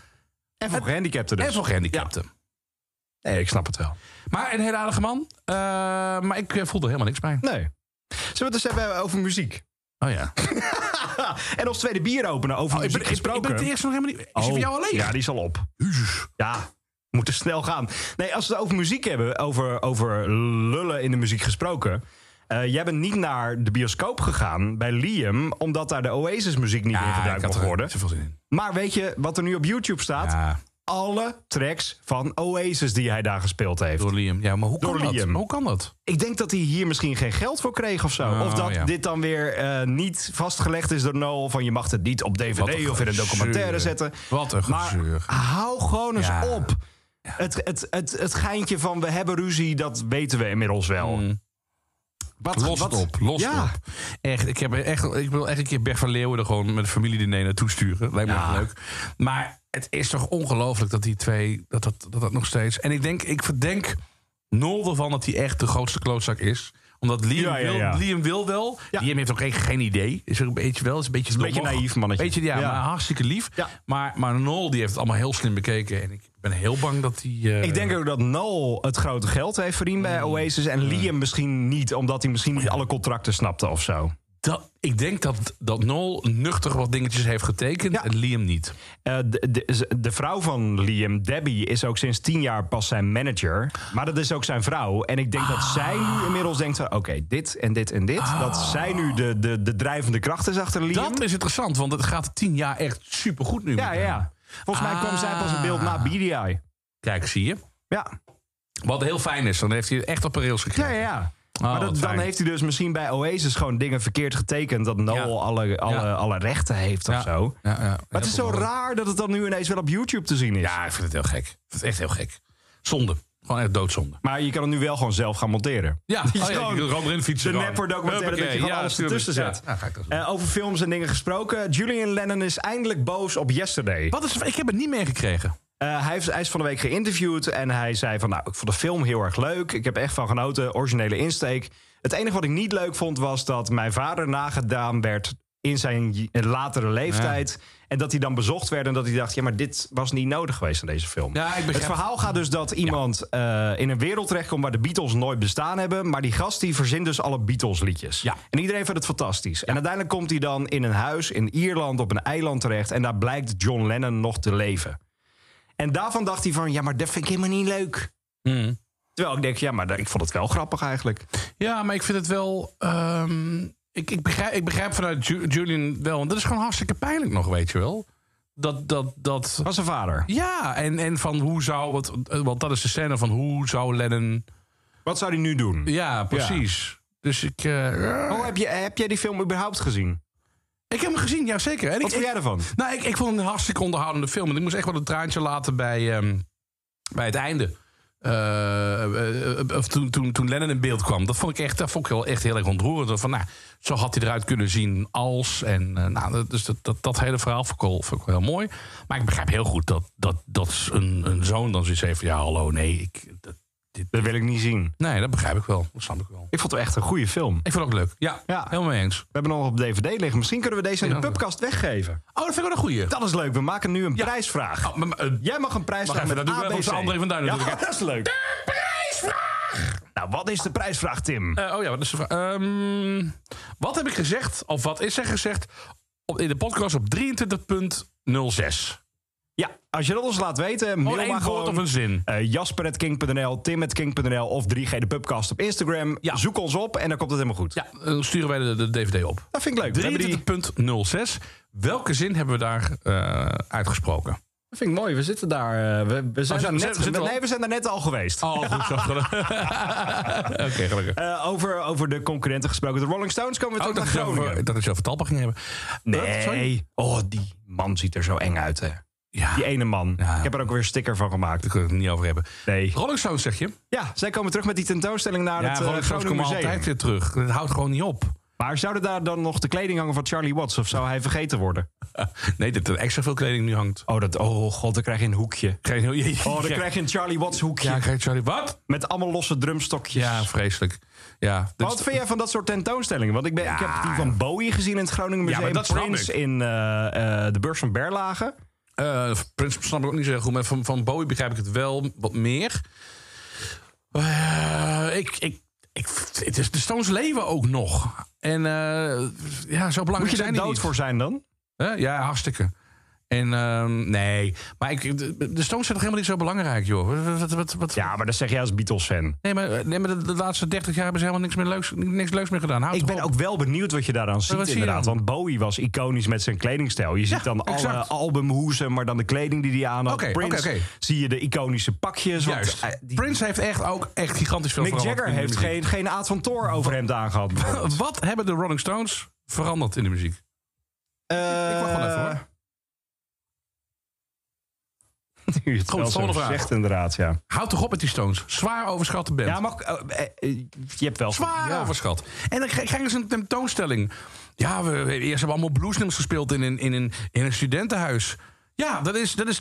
S2: En voor gehandicapten dus.
S3: En voor gehandicapten.
S2: Nee, ik snap het wel.
S3: Maar een hele aardige man. Eh, maar ik eh, voel er helemaal niks bij.
S2: Nee. Zullen we het eens hebben over muziek? (laughs)
S3: Oh ja.
S2: en ons tweede bier openen over
S3: Oh, ik,
S2: muziek
S3: ben, ik, ben- ik ben
S2: gesproken.
S3: het eerst nog helemaal niet. Is die
S2: Oh,
S3: voor jou alleen?
S2: Ja, die is al op.
S3: Jezus.
S2: Ja, we moeten snel gaan. Nee, als we het over muziek hebben, over, over lullen in de muziek gesproken. Eh, jij bent niet naar de bioscoop gegaan bij Liam, omdat daar de Oasis muziek niet in
S3: ik
S2: gebruikt
S3: had
S2: mag
S3: er
S2: worden.
S3: niet zoveel zin in.
S2: Maar weet je wat er nu op YouTube staat?
S3: Ja,
S2: Alle tracks van Oasis die hij daar gespeeld heeft.
S3: door Liam. Ja, maar hoe
S2: Door
S3: kan dat?
S2: Liam.
S3: Maar Hoe kan dat?
S2: Ik denk dat hij hier misschien geen geld voor kreeg of zo.
S3: Oh,
S2: of dat
S3: ja.
S2: dit dan weer eh, niet vastgelegd is door Noel. Van je mag het niet op
S3: Wat
S2: DVD
S3: een
S2: of in een
S3: gezeur.
S2: documentaire zetten.
S3: Wat een
S2: Maar
S3: gezeur.
S2: hou gewoon eens
S3: Ja.
S2: op. Het, het, het, het geintje van we hebben ruzie, dat weten we inmiddels wel.
S3: Mm.
S2: Wat,
S3: Los het op, los
S2: ja.
S3: het op. Echt, ik, heb echt, ik wil echt een keer Bert van Leeuwen gewoon met een familiediner naartoe sturen. Lijkt me
S2: Ja.
S3: echt leuk. Maar het is toch ongelooflijk dat die twee, dat dat, dat dat nog steeds... En ik denk, ik verdenk nul ervan dat hij echt de grootste klootzak is. Omdat Liam,
S2: Ja, ja, ja.
S3: Wil, Liam wil wel.
S2: Ja.
S3: Liam heeft ook geen, geen idee. Is er een beetje wel, is een beetje
S2: een beetje
S3: dommig.
S2: naïef mannetje.
S3: Beetje, ja,
S2: Ja.
S3: maar hartstikke lief.
S2: Ja.
S3: Maar, maar Nol die heeft het allemaal heel slim bekeken. En ik ben heel bang dat hij... eh,
S2: Ik denk ook dat Noel het grote geld heeft verdiend bij
S3: Mm.
S2: Oasis. En Liam misschien niet, omdat hij misschien niet alle contracten snapte of zo.
S3: dat, ik denk dat, dat Nol nuchter wat dingetjes heeft getekend
S2: Ja.
S3: en Liam niet.
S2: Eh, de, de, de vrouw van Liam, Debbie, is ook sinds tien jaar pas zijn manager. Maar dat is ook zijn vrouw. En ik denk
S3: Ah.
S2: dat zij nu inmiddels denkt: van, oké, dit en dit en dit. Dat zij nu de, de, de drijvende kracht is achter Liam.
S3: Dat is interessant, want het gaat tien jaar echt supergoed nu.
S2: ja,
S3: met hem.
S2: ja. Volgens mij kwam
S3: Ah.
S2: zij pas in beeld na BDI.
S3: Kijk, zie je.
S2: Ja,
S3: Wat heel fijn is, dan heeft hij het echt op een rails
S2: ja, ja.
S3: gekregen.
S2: ja.
S3: Oh,
S2: maar
S3: wat
S2: dat, dan
S3: fijn.
S2: heeft hij dus misschien bij Oasis gewoon dingen verkeerd getekend. Dat Noel
S3: Ja.
S2: alle, alle,
S3: Ja.
S2: alle rechten heeft of
S3: Ja.
S2: zo. Maar
S3: Ja, ja.
S2: het is zo raar dat het dan nu ineens wel op YouTube te zien is.
S3: Ja, ik vind het heel gek. Ik vind het echt heel gek. Zonde. Gewoon echt doodzonde.
S2: Maar je kan het nu wel gewoon zelf gaan monteren.
S3: Ja,
S2: Die is
S3: oh ja,
S2: gewoon
S3: je kunt er gewoon in fietsen.
S2: De
S3: gewoon.
S2: nepper documentaire dat je
S3: Huppakee,
S2: gewoon
S3: ja,
S2: alles
S3: tuurlijk.
S2: ertussen zet.
S3: Ja, ja, ga ik dat doen.
S2: Eh, over films en dingen gesproken. Julian Lennon is eindelijk boos op Yesterday.
S3: Wat is, ik heb het niet meegekregen.
S2: Eh, hij, heeft, hij is van de week geïnterviewd en hij zei van... nou, ik vond de film heel erg leuk. Ik heb echt van genoten. Originele insteek. Het enige wat ik niet leuk vond was dat mijn vader nagedaan werd... in zijn j- eh, latere leeftijd. En dat hij dan bezocht werd en dat hij dacht... ja, maar dit was niet nodig geweest in deze film.
S3: Ja, ik begrijp
S2: Het verhaal gaat dus dat iemand eh, in een wereld terechtkomt... waar de Beatles nooit bestaan hebben. Maar die gast die verzint dus alle Beatles liedjes.
S3: Ja.
S2: En iedereen vindt het fantastisch. En uiteindelijk komt hij dan in een huis in Ierland op een eiland terecht... en daar blijkt John Lennon nog te leven. En daarvan dacht hij van, ja, maar dat vind ik helemaal niet leuk.
S3: Hmm.
S2: Terwijl ik denk, ja, maar ik vond het wel grappig eigenlijk.
S3: Ja, maar ik vind het wel... ehm, ik, ik, begrijp, ik begrijp vanuit Ju- Julian wel, want dat is gewoon hartstikke pijnlijk nog, weet je wel. Dat, dat, dat,
S2: Was zijn vader.
S3: Ja, en, en van hoe zou, want, eh, want dat is de scène van hoe zou Lennon.
S2: Wat zou hij nu doen?
S3: Ja, precies. Dus ik. eh,
S2: Oh, heb, je, heb jij die film überhaupt gezien?
S3: ik heb hem gezien, ja zeker. En
S2: Wat
S3: ik,
S2: vond jij ervan?
S3: ik- nou, ik, ik vond het een hartstikke onderhoudende film. En ik moest echt wel een traantje laten bij, ehm, bij het einde. Eh, eh, eh, of toen, toen, toen Lennon in beeld kwam. Dat vond ik echt, dat vond ik wel echt heel erg ontroerend. Van, nou, zo had hij eruit kunnen zien als. En, eh, nou, dat- dus dat, dat, dat hele verhaal vond ik, wel, vond ik wel heel mooi. Maar ik begrijp heel goed dat, dat, dat een, een zoon dan zoiets heeft van... Ja, hallo, nee, ik, dat,
S2: Dat wil ik niet zien.
S3: Nee, dat begrijp ik wel. Dat snap ik wel.
S2: Ik vond het echt een goede film.
S3: Ik vond het ook leuk. Ja,
S2: Ja.
S3: helemaal mee eens.
S2: We hebben hem nog op DVD liggen. Misschien kunnen we deze in de pubkast weggeven.
S3: Oh, dat vind ik wel een goeie.
S2: Dat is leuk. We maken nu een
S3: Ja.
S2: prijsvraag.
S3: Oh, maar- maar, eh,
S2: Jij mag een prijsvraag
S3: Wacht even,
S2: met
S3: dat doen we
S2: ABC.
S3: volgens André van Duin
S2: Ja,
S3: natuurlijk,
S2: (laughs) dat is leuk. De prijsvraag! Nou, wat is de prijsvraag, Tim?
S3: eh, oh ja, wat is de vraag? Ehm, wat heb ik gezegd, of wat is er gezegd, op, in de podcast op 23.06?
S2: Ja, als je dat ons laat weten,
S3: Oh,
S2: mail
S3: één
S2: maar
S3: woord
S2: gewoon.
S3: of een zin.
S2: Eh, jasper.king.nl, tim.king.nl of 3G de Pubcast op Instagram.
S3: Ja.
S2: Zoek ons op en dan komt het helemaal goed.
S3: Ja, dan sturen wij de, de DVD op.
S2: Dat vind ik leuk. We hebben die-
S3: 23.06. Welke zin hebben we daar eh, uitgesproken?
S2: Dat vind ik mooi. We zitten daar. eh, we, we zijn
S3: ze-
S2: daar
S3: ze-
S2: net,
S3: zitten
S2: we-
S3: al-
S2: nee, we zijn daar net al geweest.
S3: Oh, goed zo. gelukkig.
S2: (laughs)
S3: Oké, gelukkig.
S2: Eh, over, over de concurrenten gesproken. De Rolling Stones komen we
S3: Oh,
S2: terug
S3: dat
S2: naar
S3: is
S2: Groningen.
S3: over, dat is over Talpa ging hebben. Huh? Sorry? e-
S2: Nee. Oh, die man ziet er zo eng uit, hè.
S3: Ja,
S2: Die
S3: daar
S2: ene man.
S3: Ja.
S2: Ik heb er ook weer een sticker van gemaakt.
S3: kunnen we het niet over hebben.
S2: Nee.
S3: Rolling Stones, zeg je?
S2: Ja, zij komen terug met die tentoonstelling naar
S3: Ja,
S2: het eh,
S3: Rolling Stones
S2: Groningen
S3: komen
S2: Museum.
S3: altijd weer terug. Dat houdt gewoon niet op.
S2: Maar zouden daar dan nog de kleding hangen van Charlie Watts? Of zou hij vergeten worden?
S3: (laughs) Nee, dat er extra veel kleding nu hangt.
S2: Oh, dat, oh god, dan krijg je een
S3: (laughs)
S2: hoekje.
S3: Geen heel...
S2: Oh, dan krijg je een Charlie Watts hoekje.
S3: Ja, krijg je Charlie. Wat?
S2: Met allemaal losse drumstokjes.
S3: Ja, vreselijk. Ja, dat
S2: Wat
S3: is-
S2: vind jij van dat soort tentoonstellingen? Want ik, ben, ik heb die van Bowie gezien in het Groningen
S3: Ja,
S2: Museum.
S3: maar dat snap
S2: Prince
S3: ik.
S2: in eh, eh, de beurs van Berlage.
S3: Eh, Prins snap ik ook niet zo heel goed. Maar van, van Bowie begrijp ik het wel wat meer. Eh, ik, ik, ik, het is, de Stones leven ook nog. En eh, ja, zo
S2: Moet je
S3: belangrijk
S2: daar
S3: zijn die
S2: dood
S3: niet.
S2: voor zijn dan?
S3: Hè? Ja, hartstikke. En ehm, nee, maar ik, de, de Stones zijn toch helemaal niet zo belangrijk, joh. Wat, wat, wat, wat-
S2: Ja, maar dat zeg jij als Beatles-fan.
S3: Nee, maar, nee, maar de, de laatste 30 jaar hebben ze helemaal niks, meer leuks, niks leuks meer gedaan. Houd
S2: Ik ben ook wel benieuwd wat je daaraan ziet,
S3: wat zie je
S2: inderdaad.
S3: dan?
S2: Want Bowie was iconisch met zijn kledingstijl. Je ziet dan alle
S3: exact.
S2: albumhoezen, maar dan de kleding die hij aan had.
S3: Oké,
S2: Prince
S3: oké, oké.
S2: zie je de iconische pakjes. want,
S3: Juist.
S2: eh, die-
S3: Prince heeft echt ook echt gigantisch veel
S2: Mick
S3: veranderd
S2: Jagger
S3: in de
S2: heeft
S3: muziek.
S2: geen, geen aad van Toor overhemd aangehad. bijvoorbeeld.
S3: (laughs) Wat hebben de Rolling Stones veranderd in de muziek? ik wacht wel even
S2: Eh,
S3: hoor.
S2: Nu je het
S3: Goed,
S2: wel zo
S3: volgende vraag.
S2: zegt, inderdaad, ja.
S3: Houd toch op met die Stones. Zwaar overschatte band.
S2: Ja, maar eh, eh, eh, je hebt wel...
S3: Zwaar
S2: ja.
S3: overschat. En dan krijg- krijgen ze een tentoonstelling. Ja, we, we- eerst hebben we allemaal bluesnummers gespeeld in een, in een, in een studentenhuis. Ja, dat is, dat is 80%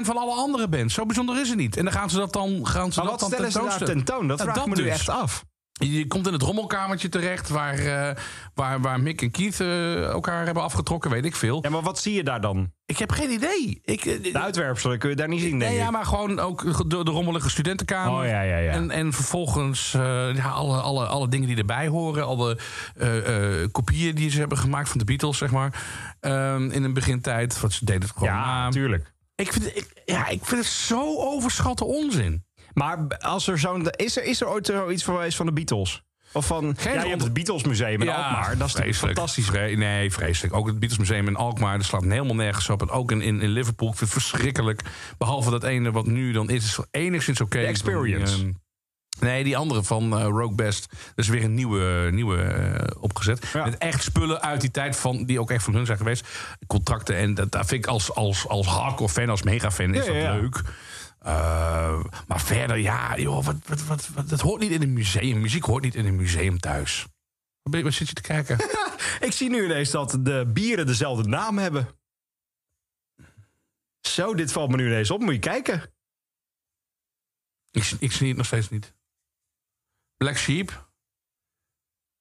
S3: van alle andere bands. Zo bijzonder is het niet. En dan gaan ze dat dan gaan ze
S2: Maar
S3: dat
S2: wat
S3: dan
S2: stellen ze daar
S3: tentoonstellen.
S2: tentoon? Dat
S3: Nou,
S2: vraag ik me nu
S3: dus.
S2: echt af.
S3: Je komt in het rommelkamertje terecht waar, eh, waar, waar Mick en Keith eh, elkaar hebben afgetrokken, weet ik veel.
S2: Ja, maar wat zie je daar dan?
S3: Ik heb geen idee. Ik, eh,
S2: De uitwerpselen kun je daar niet zien, denk
S3: Nee,
S2: ik.
S3: ja, maar gewoon ook de, de rommelige studentenkamer.
S2: Oh, ja, ja, ja.
S3: En, en vervolgens eh, ja, alle, alle, alle dingen die erbij horen. Alle eh, eh, kopieën die ze hebben gemaakt van de Beatles, zeg maar. Ehm, in een begintijd. Want ze deden het gewoon
S2: Ja,
S3: na.
S2: natuurlijk.
S3: Ik vind, het- ik, ja, ik vind het zo overschatte onzin.
S2: Maar b- als er zo'n. Is er, is er ooit zoiets van geweest van de Beatles? Of van. ja,
S3: Geen
S2: je hebt
S3: onder-
S2: het Beatles Museum in Alkmaar. Dat is natuurlijk
S3: vreselijk.
S2: fantastisch.
S3: Vre- nee, vreselijk. Ook het Beatles Museum in Alkmaar, dat slaat helemaal nergens op. En ook in, in, in Liverpool, ik vind het verschrikkelijk. Behalve dat ene wat nu dan is, is wel enigszins oké.
S2: De Experience.
S3: Die, ehm, nee, die andere van eh, Rogue Best. Dat is weer een nieuwe, nieuwe eh, opgezet.
S2: Ja.
S3: Met echt spullen uit die tijd van, die ook echt van hun zijn geweest. Contracten en dat, daar vind ik als, als, als hardcore fan, als mega fan, is
S2: Ja,
S3: dat
S2: ja, ja.
S3: leuk. Eh, maar verder, ja, joh, wat, wat, wat, wat- dat hoort niet in een museum. Muziek hoort niet in een museum thuis. Wat ben je- Wat zit je te
S2: (laughs)
S3: kijken?
S2: Ik zie nu ineens dat de bieren dezelfde naam hebben. Zo, dit valt me nu ineens op. Moet je kijken.
S3: ik, ik zie het nog steeds niet. Black Sheep.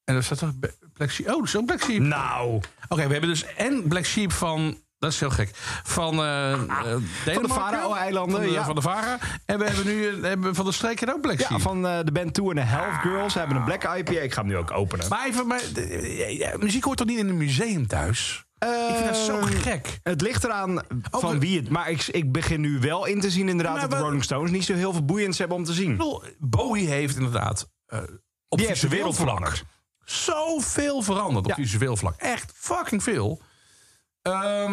S3: En daar staat toch Be- Black Sheep. Oh, zo Black Sheep.
S2: Nou,
S3: Oké, we hebben dus en Black Sheep van. Dat is heel gek. Van,
S2: Ah,
S3: eh, eh, Denemarken.
S2: Faroe-eilanden,
S3: Van de-
S2: ja.
S3: Van de Vara. En we hebben nu eh, hebben van de streken ook Black
S2: ja,
S3: Sheep.
S2: van eh, de band Two and a Half Girls. Ze hebben een Black IPA. Ik ga hem nu ook openen.
S3: Maar even, maar, eh, eh, muziek hoort toch niet in een museum thuis? ik vind dat zo
S2: Ehm,
S3: gek.
S2: Het ligt eraan van
S3: we-
S2: wie het. Maar ik, ik begin nu wel in te zien, inderdaad,
S3: Maar
S2: dat de
S3: we-
S2: Rolling Stones niet zo heel veel boeiends hebben om te
S3: Ik
S2: zien.
S3: bedoel, Bowie heeft inderdaad eh, op
S2: Die heeft de
S3: visueel
S2: wereld
S3: vlak
S2: veranderd.
S3: zoveel veranderd op
S2: Ja.
S3: visueel vlak. Echt fucking veel. Ehm,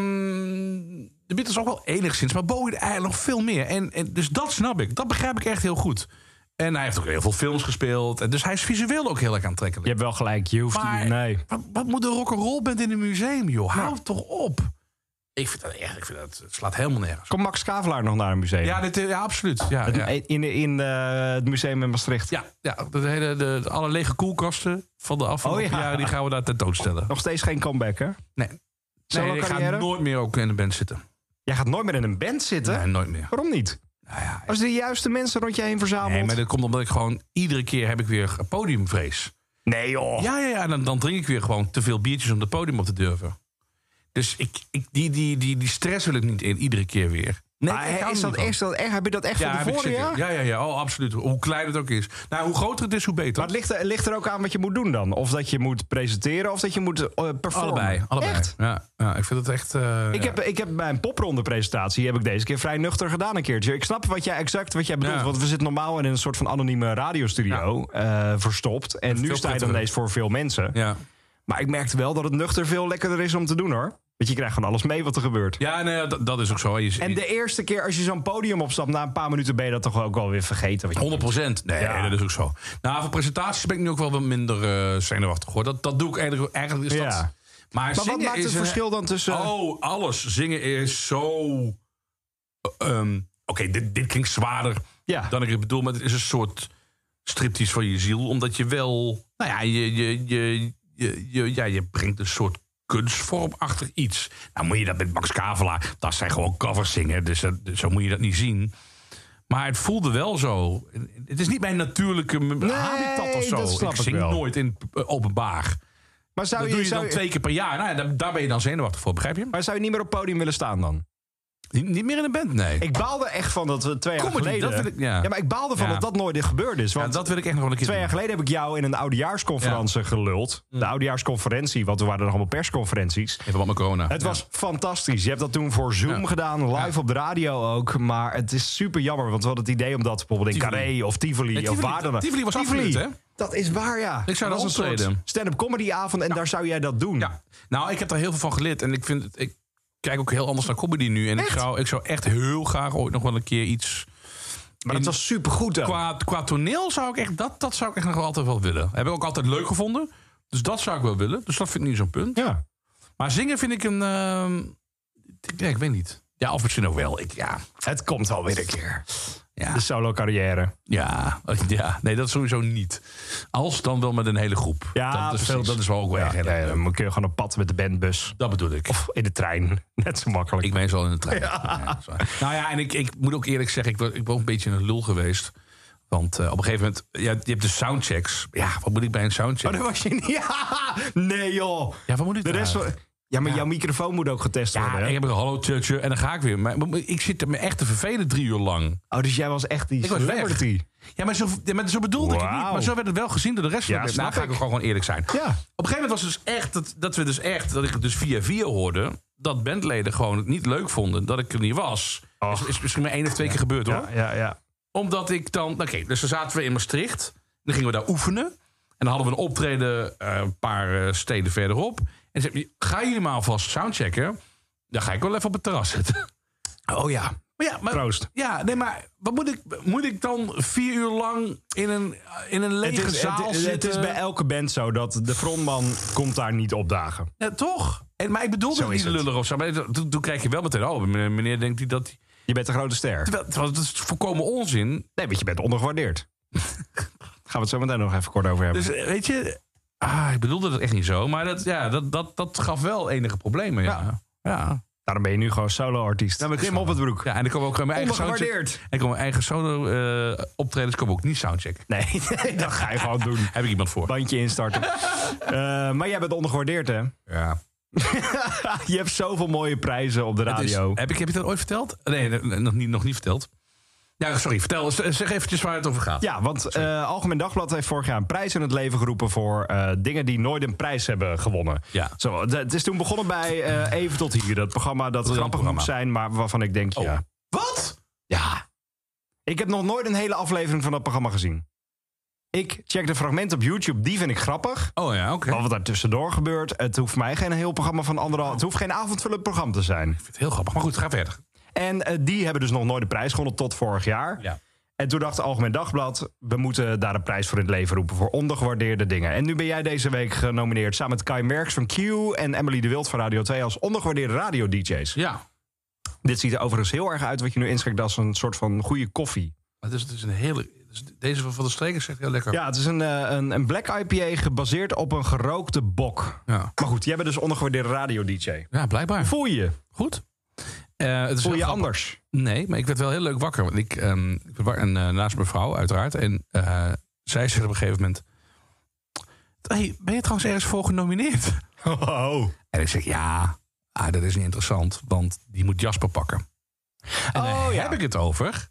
S3: de Beatles ook wel enigszins, maar Bowie eigenlijk nog veel meer. En, en, dus dat snap ik. Dat begrijp ik echt heel goed. En hij heeft ook heel veel films gespeeld. En dus hij is visueel ook heel erg aantrekkelijk.
S2: Je hebt wel gelijk, je hoeft
S3: Maar
S2: niet. Nee.
S3: wat, wat moet een rock'n'roll band in een museum, joh? Hou toch op. Ik vind dat echt, ik vind dat, het slaat helemaal nergens. op.
S2: Komt Max Kavelaar nog naar een museum?
S3: Ja, dit, ja absoluut. Ja,
S2: Het-
S3: ja.
S2: In, in eh, het museum in Maastricht.
S3: Ja, ja de hele, de, de- alle lege koelkasten van de afgelopen
S2: Oh ja.
S3: jaren... die gaan we daar tentoonstellen.
S2: Nog steeds geen comeback, hè?
S3: Nee,
S2: Solo
S3: nee ik ga
S2: carrière?
S3: nooit meer ook in de band zitten.
S2: Jij gaat nooit meer in een band zitten.
S3: Nee, nooit meer.
S2: Waarom niet?
S3: Nou ja,
S2: Als je de juiste mensen rond je heen verzamelt.
S3: nee, maar dat komt omdat ik gewoon... iedere keer heb ik weer podiumvrees.
S2: Nee, joh.
S3: Ja, ja, ja. Dan, dan drink ik weer gewoon te veel biertjes om het podium op te durven. Dus ik, ik, die, die, die, die stress wil ik niet in, iedere keer weer. Nee,
S2: Maar
S3: ik hou
S2: is
S3: er
S2: dat
S3: niet van.
S2: echt, dat echt, heb je dat echt
S3: Ja,
S2: van
S3: heb ik
S2: tevoren, ja?
S3: zeker. ja, ja, ja. Oh, absoluut. Hoe klein het ook is. Nou, hoe groter het is, hoe beter.
S2: Maar het ligt er, ligt er ook aan wat je moet doen dan. Of dat je moet presenteren of dat je moet eh, performen.
S3: allebei. allebei.
S2: Echt?
S3: Ja, ja, ik vind het echt... eh,
S2: Ik,
S3: ja.
S2: heb, ik heb mijn popronde presentatie heb ik deze keer vrij nuchter gedaan een keertje. Ik snap wat jij exact wat jij bedoelt.
S3: Ja.
S2: Want we zitten normaal in een soort van anonieme radiostudio eh, verstopt. En nu
S3: veel
S2: sta je dan
S3: prettiger.
S2: ineens voor veel mensen.
S3: ja.
S2: Maar ik merkte wel dat het nuchter veel lekkerder is om te doen hoor. Want je krijgt gewoon alles mee wat er gebeurt.
S3: Ja, nee, dat, dat is ook zo. Je,
S2: En de eerste keer als je zo'n podium opstapt, na een paar minuten ben je dat toch ook wel weer vergeten. Wat je-
S3: 100 Nee,
S2: Ja.
S3: dat is ook zo. Nou, voor presentaties ben ik nu ook wel wat minder eh, zenuwachtig hoor. Dat, dat doe ik eigenlijk, eigenlijk is dat.
S2: Ja.
S3: Maar,
S2: Maar
S3: zingen
S2: wat maakt
S3: is
S2: het
S3: een-
S2: verschil dan tussen...
S3: Oh, alles. Zingen is zo. ehm, Oké, dit, dit klinkt zwaarder
S2: Ja.
S3: dan ik het bedoel, maar het is een soort striptease van je ziel. Omdat je wel. Nou ja, je, je, je, je, je- ja, je brengt een soort kunstvorm achter iets. Nou moet je dat met Max Kavelaar. Dat zijn gewoon covers zingen, dus dat- zo moet je dat niet zien. Maar het voelde wel zo. Het is niet mijn natuurlijke m- habitat of zo.
S2: dat snap
S3: ik
S2: ik
S3: zing
S2: wel.
S3: nooit in eh, openbaar.
S2: maar zou
S3: Dat
S2: je,
S3: doe je
S2: zou
S3: dan
S2: je-
S3: twee keer per jaar. Nou ja, daar, daar ben je dan zenuwachtig voor, begrijp je?
S2: Maar zou je niet meer op het podium willen staan dan?
S3: Niet, niet meer in de band, nee.
S2: Ik baalde echt van dat we twee jaar
S3: Comedy,
S2: geleden...
S3: dat wil ik- ja.
S2: maar ik baalde van
S3: Ja.
S2: dat dat nooit gebeurd is.
S3: ja,
S2: Want
S3: dat wil ik echt nog wel een keer
S2: twee jaar
S3: doen.
S2: geleden heb ik jou in een oudejaarsconferentie geluld.
S3: Mm.
S2: De oudejaarsconferentie, want er waren nog allemaal persconferenties.
S3: Even wat met corona.
S2: Het was fantastisch. Je hebt dat toen voor Zoom
S3: Ja.
S2: gedaan, live op de radio ook. Maar het is super jammer, want we hadden het idee om dat bijvoorbeeld in
S3: Tivoli.
S2: Carré of Tivoli,
S3: Nee,
S2: of
S3: Tivoli-
S2: waar dan ook.
S3: Tivoli was afgehuurd, hè?
S2: Dat is waar, ja.
S3: Ik zou
S2: dat
S3: daar
S2: was een soort
S3: optreden.
S2: stand-up comedy avond en daar zou jij dat doen.
S3: Ja. Nou, ik heb daar heel veel van geleerd. En ik vind het, ik kijk ook heel anders naar comedy nu. En ik zou, ik zou echt heel graag ooit nog wel een keer iets...
S2: Maar dat
S3: In-
S2: was supergoed dan.
S3: Qua, qua toneel zou ik echt... Dat, dat zou ik echt nog wel altijd wel willen. Heb ik ook altijd leuk gevonden. Dus dat zou ik wel willen. Dus dat vind ik nu zo'n punt.
S2: Ja.
S3: Maar zingen vind ik een... ehm, ik, ja, ik weet niet. Ja, of misschien ook wel. Ik, ja.
S2: Het komt wel weer een keer.
S3: Ja.
S2: De solo carrière.
S3: Ja, (laughs) ja, nee, dat sowieso niet. Als dan wel met een hele groep.
S2: Ja,
S3: dat, is,
S2: precies.
S3: dat is wel ook wel
S2: Ja,
S3: erg
S2: ja, ja,
S3: erg leuk.
S2: dan kun je gewoon op pad met de bandbus.
S3: Dat bedoel ik.
S2: Of in de trein. (laughs) Net zo makkelijk.
S3: Ik ben zo in de trein. Ja, dat is waar. nou ja, en ik, ik moet ook eerlijk zeggen, ik ben, ik ben ook een beetje een lul geweest. Want eh, op een gegeven moment, ja, je hebt de soundchecks. Ja, wat moet ik bij een soundcheck?
S2: Oh, Maar dat was je niet. (laughs) Ja, nee joh.
S3: Ja, wat moet ik
S2: De
S3: daar
S2: rest van...
S3: uit?
S2: Ja, maar jouw microfoon moet ook getest
S3: Ja,
S2: worden.
S3: en
S2: hè?
S3: ik heb een hallo tjutje en dan ga ik weer. Maar, maar ik zit er me echt te vervelen drie uur lang.
S2: Oh, dus jij was echt die
S3: Ik was weg.
S2: celebrity.
S3: Ja, maar zo, ja, maar zo bedoelde ik het niet.
S2: Wauw.
S3: Maar zo werd het wel gezien door de rest
S2: Ja,
S3: van de
S2: snap
S3: Nou, ga ik
S2: ik.
S3: ook gewoon eerlijk zijn.
S2: Ja.
S3: Op een gegeven moment was het dus echt dat, dat we dus echt, dat ik het dus via via hoorde, dat bandleden gewoon het niet leuk vonden dat ik er niet was. Is, is misschien maar één of twee keer gebeurd hoor.
S2: Ja, ja, ja.
S3: Omdat ik dan, oké, dus dan zaten we in Maastricht, dan gingen we daar oefenen. En dan hadden we een optreden eh, een paar eh, steden verderop. En ze zei, ga jullie maar alvast soundchecken. Dan ga ik wel even op het terras zitten.
S2: Oh ja.
S3: Maar ja, maar,
S2: Troost.
S3: Ja, nee, maar wat moet ik, moet ik dan vier uur lang in een, in een
S2: Het
S3: lege
S2: is, het-
S3: zaal
S2: het,
S3: zitten?
S2: is bij elke band zo dat de frontman komt daar niet opdagen.
S3: Ja, toch? En, maar ik bedoel
S2: Zo
S3: het
S2: is
S3: niet
S2: het.
S3: lullig of zo. Maar toen, toen krijg je wel meteen, oh, meneer, meneer denkt hij dat... hij-
S2: Je bent een grote ster.
S3: Terwijl, terwijl het is volkomen onzin.
S2: Nee, want je bent
S3: (laughs)
S2: ondergewaardeerd. Gaan we het zo meteen nog even kort over hebben.
S3: Dus eh, weet je, ah, ik bedoelde dat echt niet zo. Maar dat, ja, dat, dat, dat gaf wel enige problemen, ja. Ja, ja.
S2: Daarom ben je nu gewoon solo-artiest. Dus-
S3: Ja, maar ik-
S2: Klim op het broek.
S3: en dan komen ook eh, mijn eigen soundcheck... En
S2: Ondergewaardeerd.
S3: dan komen mijn eigen solo eh, optredens komen ook niet soundcheck.
S2: Nee, (laughs) nee, dat ga je gewoon
S3: (laughs)
S2: doen.
S3: Heb ik iemand voor.
S2: Bandje
S3: (laughs)
S2: instarten. Eh, maar jij bent ondergewaardeerd, hè?
S3: Ja.
S2: Je hebt zoveel mooie prijzen op de
S3: Het is-
S2: radio.
S3: Dus heb, ik, heb je dat ooit verteld? Nee, nee, nee, nog niet, nog niet verteld. Ja, sorry, vertel. z- Zeg eventjes waar het over gaat.
S2: Ja, want eh, Algemeen Dagblad heeft vorig jaar een prijs in het leven geroepen voor eh, dingen die nooit een prijs hebben gewonnen.
S3: Ja.
S2: Zo, d- het is toen begonnen bij eh, Even tot hier, dat programma dat grappig
S3: programma.
S2: moet zijn, maar waarvan ik denk, ja.
S3: Wat?
S2: ja. Ik heb nog nooit een hele aflevering van dat programma gezien. Ik check de fragmenten op YouTube, die vind ik grappig.
S3: Oh ja, oké.
S2: Maar wat daar tussendoor gebeurt, het hoeft mij geen heel programma van anderhalf. Het hoeft geen avondvullend programma te zijn.
S3: Heel grappig. Maar goed, ga verder.
S2: En eh, die hebben dus nog nooit de prijs gewonnen tot vorig jaar.
S3: Ja.
S2: En toen dacht het Algemeen Dagblad, we moeten daar een prijs voor in het leven roepen. Voor ondergewaardeerde dingen. En nu ben jij deze week genomineerd samen met Kai Merks van Q en Emily de Wild van Radio 2 als ondergewaardeerde radio-dj's.
S3: Ja.
S2: Dit ziet er overigens heel erg uit wat je nu inschenkt als een soort van goede koffie.
S3: Maar het is, het is een hele. dus Deze van Van de Streken zegt heel lekker.
S2: Ja, het is een, eh, een, een black IPA gebaseerd op een gerookte bok.
S3: Ja.
S2: Maar goed, jij bent dus ondergewaardeerde radio-dj.
S3: Ja, blijkbaar.
S2: Voel je?
S3: Goed. Eh, het is
S2: Voel
S3: heel
S2: je
S3: grappig. (laughs)
S2: anders?
S3: Nee, maar ik werd wel heel leuk wakker. Want ik, ehm, ik werd wakker en, eh, naast mijn vrouw, uiteraard. En eh, zij zegt op een gegeven moment... Hey, ben je trouwens ergens voor genomineerd? (laughs)
S2: Oh.
S3: En ik zeg, ja, ah, dat is niet interessant. Want die moet Jasper pakken. En
S2: Oh,
S3: dan
S2: ja.
S3: heb ik het over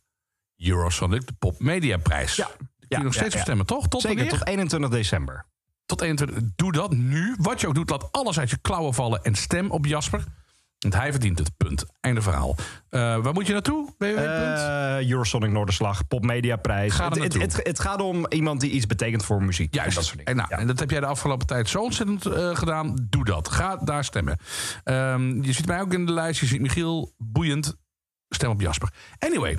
S3: Eurosonic, de Pop Media Prijs.
S2: Ja.
S3: Kun
S2: Ja,
S3: je nog
S2: ja,
S3: steeds
S2: ja.
S3: bestemmen, toch? Tot
S2: Zeker
S3: wanneer?
S2: tot 21 december.
S3: tot 21. Doe dat nu. Wat je ook doet, laat alles uit je klauwen vallen en stem op Jasper. Want hij verdient het. Punt. Einde verhaal. Eh, waar moet je naartoe? www.
S2: Eh, Eurosonic Noorderslag, Popmediaprijs.
S3: Ga er
S2: Het, het,
S3: naartoe.
S2: het- het gaat om iemand die iets betekent voor muziek.
S3: Juist.
S2: En dat soort dingen.
S3: En, nou, en dat heb jij de afgelopen tijd zo ontzettend eh, gedaan. Doe dat. Ga daar stemmen. Ehm, je ziet mij ook in de lijst. Je ziet Michiel. Boeiend. Stem op Jasper. Anyway.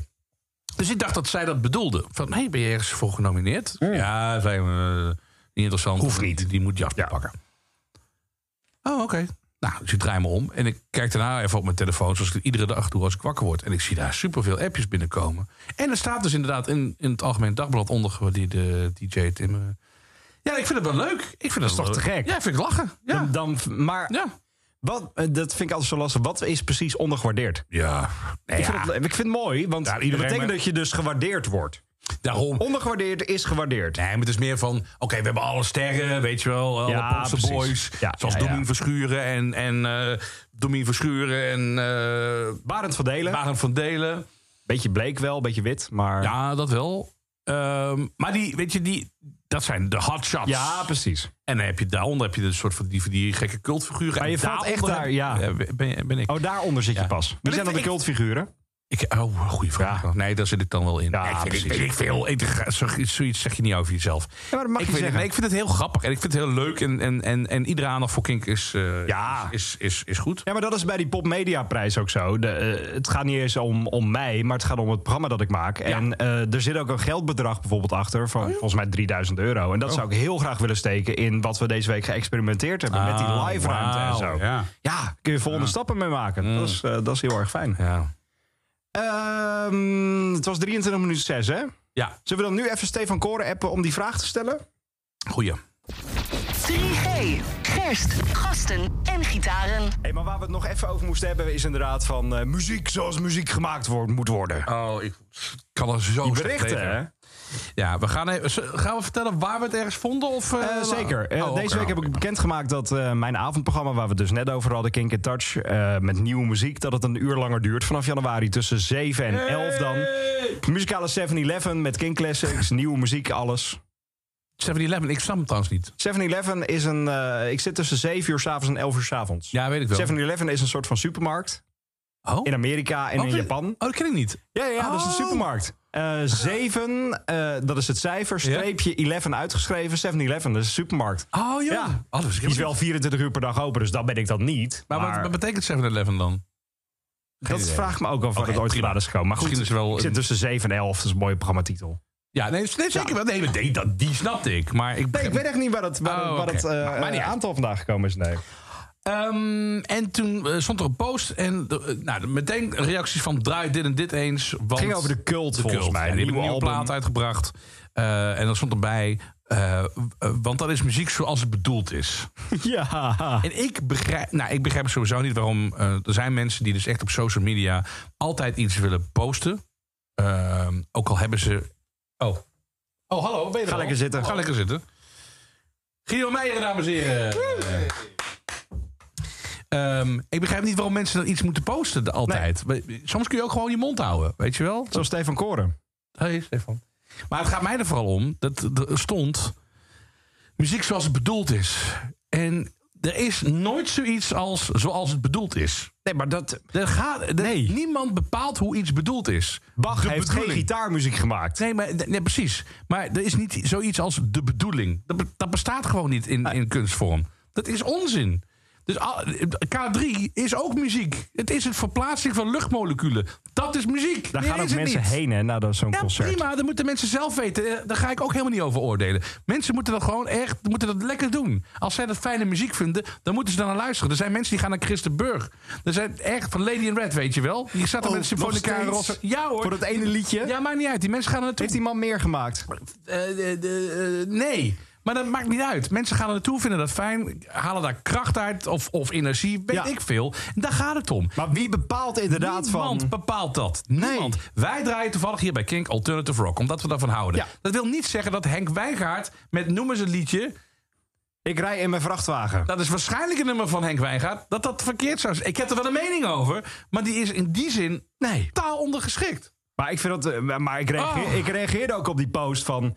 S3: Dus ik dacht dat zij dat bedoelde. Van, hé, hey, ben je ergens voor genomineerd? Ja, zijn we, eh, niet interessant.
S2: Hmm. Hoeft niet.
S3: Die, die moet Jasper pakken. Oh, oké. Nou, dus ik draai me om. En ik kijk daarna even op mijn telefoon, zoals ik het iedere dag doe als ik wakker word. En ik zie daar superveel appjes binnenkomen. En er staat dus inderdaad in, in het Algemeen Dagblad ondergewaardeerde DJ Tim. eh. Ja, ik vind het wel leuk. Ik vind dat is
S2: toch te gek?
S3: Ja, vind ik lachen. Ja.
S2: Dan, dan, maar
S3: ja.
S2: Wat, eh, dat vind ik altijd zo lastig. Wat is precies ondergewaardeerd?
S3: Ja. Nee,
S2: Ik,
S3: ja.
S2: vind het, ik vind het mooi, want
S3: Ja,
S2: dat
S3: iedereen
S2: betekent
S3: maar-
S2: dat je dus gewaardeerd wordt.
S3: Daarom.
S2: Oh. Ondergewaardeerd is gewaardeerd.
S3: Nee, maar het is meer van, oké, we hebben alle sterren, weet je wel, alle
S2: Ja,
S3: Poolse
S2: precies.
S3: boys.
S2: Ja,
S3: zoals
S2: ja, ja.
S3: Domien Verschuren en, en eh Domien Verschuren en eh
S2: Barend van Delen.
S3: Barend van Delen.
S2: Beetje bleek wel, beetje wit, maar...
S3: Ja, dat wel. Ehm, maar die, weet je, die, dat zijn de hotshots.
S2: Ja, precies.
S3: en dan heb je, daaronder heb je een soort van die, van die gekke cultfiguren.
S2: Maar je
S3: En
S2: valt echt
S3: daaronder
S2: daar,
S3: heb- Eh, ben, ben ik.
S2: Oh, daaronder zit je
S3: Ja.
S2: pas. Wie
S3: Maar
S2: zijn
S3: ik-
S2: dan de
S3: ik-
S2: cultfiguren?
S3: ik oh, goede vraag. Nee, daar zit ik dan wel in.
S2: Ja,
S3: Nee, ik vind- ik,
S2: precies.
S3: weet ik veel. Ik, ga- zo- zoiets zeg je niet over jezelf.
S2: maar dat mag
S3: ik
S2: je
S3: weet het,
S2: zeggen.
S3: nee, ik vind het heel grappig en ik vind het heel leuk. En, en, en, en iedere aandacht voor Kink is, eh,
S2: Ja.
S3: is, is, is, is goed.
S2: Ja, maar dat is bij die popmediaprijs ook zo. De, eh, het gaat niet eens om, om mij, maar het gaat om het programma dat ik maak. En eh, er zit ook een geldbedrag bijvoorbeeld achter
S3: Oh
S2: van volgens mij 3000 euro. En dat zou ik heel graag willen steken in wat we deze week geëxperimenteerd hebben. met die
S3: Ah,
S2: live ruimte en
S3: wauw,
S2: zo.
S3: Ja. Mm.
S2: Ja, kun je volgende stappen mee maken. Dat, is, eh, dat is heel erg fijn.
S3: Ja.
S2: Ehm, het was 23 minuten 6, hè?
S3: ja,
S2: Zullen we dan nu even Stefan Koren appen om die vraag te stellen?
S3: goeie.
S5: 3G. Gerst, gasten en gitaren.
S2: Hey, maar waar we het nog even over moesten hebben is inderdaad van eh, muziek zoals muziek gemaakt wordt, moet worden.
S3: Oh, ik kan er zo
S2: Die
S3: slecht
S2: berichten,
S3: tegen.
S2: hè?
S3: Ja, we gaan, even, z- gaan we vertellen waar we het ergens vonden? Of, eh,
S2: Eh,
S3: la-
S2: zeker. Eh,
S3: Oh, oké,
S2: deze week heb
S3: oké.
S2: ik bekendgemaakt dat eh, mijn avondprogramma, waar we het dus net over hadden, Kink in Touch, eh, met nieuwe muziek, dat het een uur langer duurt. Vanaf januari tussen 7 en 11 dan. Muzikale 7-Eleven met King Classics, (laughs) nieuwe muziek, alles.
S3: 7-Eleven, ik snap hem trouwens niet.
S2: 7-Eleven is een. eh, ik zit tussen 7 uur s'avonds en 11 uur s'avonds.
S3: Ja, weet ik wel.
S2: 7-Eleven is een soort van supermarkt.
S3: Oh?
S2: In Amerika en
S3: Oh,
S2: in
S3: dat-
S2: Japan.
S3: Oh, dat ken ik niet.
S2: Ja, ja, ja, dat is een
S3: Oh.
S2: supermarkt. Eh 7, eh, dat is het cijfer, streepje 11 uitgeschreven. 7-Eleven, dat is een supermarkt.
S3: Oh, joh.
S2: Ja.
S3: Oh, dat wist
S2: Die
S3: ik
S2: is
S3: helemaal
S2: wel 24 uur per dag open, dus dat ben ik dat niet.
S3: niet. Maar, wat, wat betekent 7-Eleven dan?
S2: dat
S3: idee.
S2: vraag ik me ook af of
S3: Oké,
S2: het ooit
S3: prima.
S2: gedaan is gekomen. Maar goed,
S3: Misschien is er wel
S2: ik zit
S3: een-
S2: tussen 7 en 11, dat is een mooie programmatitel.
S3: Ja, nee, nee, zeker wel. Nee, maar die, dat, die snapte ik. Maar ik,
S2: Nee, ik weet echt niet waar dat, waar,
S3: Oh,
S2: waar
S3: oké.
S2: dat eh,
S3: Maar- maar niet uit.
S2: aantal vandaag gekomen is. Nee.
S3: Ehm, en toen eh, stond er een post en eh, nou, meteen reacties van draai dit en dit eens. Want
S2: Ging over de cult, volgens
S3: Cult.
S2: mij.
S3: Ja, die hebben
S2: Nieuwe
S3: een nieuwe
S2: album.
S3: plaat uitgebracht. Eh, en dan stond erbij, eh, eh, want dat is muziek zoals het bedoeld is.
S2: ja.
S3: En ik begrijp, nou, ik begrijp sowieso niet waarom. eh, er zijn mensen die dus echt op social media altijd iets willen posten. Ehm, ook al hebben ze. Oh. Oh, hallo. Ben je er
S2: Ga
S3: al?
S2: lekker zitten.
S3: Ga lekker zitten. Guido Meijer, dames en heren. Ehm, ik begrijp niet waarom mensen dan iets moeten posten de- altijd. We- Soms kun je ook gewoon je mond houden, weet je wel?
S2: Zoals Stefan Koren.
S3: Hey, Stefan. Maar het gaat mij er vooral om dat er stond muziek zoals het bedoeld is. En er is nooit zoiets als zoals het bedoeld is.
S2: Nee, maar dat...
S3: Er gaat, er- Niemand bepaalt hoe iets bedoeld is.
S2: Bach
S3: De
S2: heeft geen
S3: bedoeling.
S2: gitaarmuziek gemaakt.
S3: Nee, maar, nee, precies. Maar er is niet zoiets als de bedoeling. Dat, be- dat bestaat gewoon niet in, in kunstvorm. Dat is onzin. Dus al- K3 is ook muziek. Het is het verplaatsing van luchtmoleculen. Dat is muziek.
S2: Daar
S3: Meer
S2: gaan
S3: is
S2: ook
S3: het
S2: mensen
S3: niet.
S2: heen, hè, na dat- zo'n
S3: Ja,
S2: concert.
S3: prima. Dat moeten mensen zelf weten. Eh, Daar ga ik ook helemaal niet over oordelen. Mensen moeten dat gewoon echt moeten dat lekker doen. Als zij dat fijne muziek vinden, dan moeten ze daar naar luisteren. Er zijn mensen die gaan naar Christenburg. Er zijn echt van Lady in Red, weet je wel. Die zaten
S2: Oh,
S3: met Symfonica
S2: nog
S3: en
S2: steeds?
S3: Rosso. Ja hoor.
S2: Voor dat ene liedje?
S3: Ja, maakt niet uit. Die mensen gaan er naartoe.
S2: Heeft die man meer gemaakt?
S3: Eh, eh, eh, eh, nee. Maar dat maakt niet uit. Mensen gaan er naartoe, vinden dat fijn. Halen daar kracht uit of, of energie, weet
S2: Ja.
S3: ik veel. Daar gaat het om.
S2: Maar wie bepaalt inderdaad
S3: Niemand
S2: van...
S3: bepaalt dat. Niemand. Wij draaien toevallig hier bij Kink Alternative Rock, omdat we daarvan houden.
S2: Ja.
S3: Dat wil niet zeggen dat Henk Wijngaard met Noem eens een liedje...
S2: Ik rij in mijn vrachtwagen.
S3: dat is waarschijnlijk een nummer van Henk Wijngaard... dat dat verkeerd zou zijn. Ik heb er wel een mening over, maar die is in die zin
S2: Nee.
S3: taal ondergeschikt.
S2: Maar ik, vind dat, eh, maar ik, reageer,
S3: Oh.
S2: ik reageerde ook op die post van...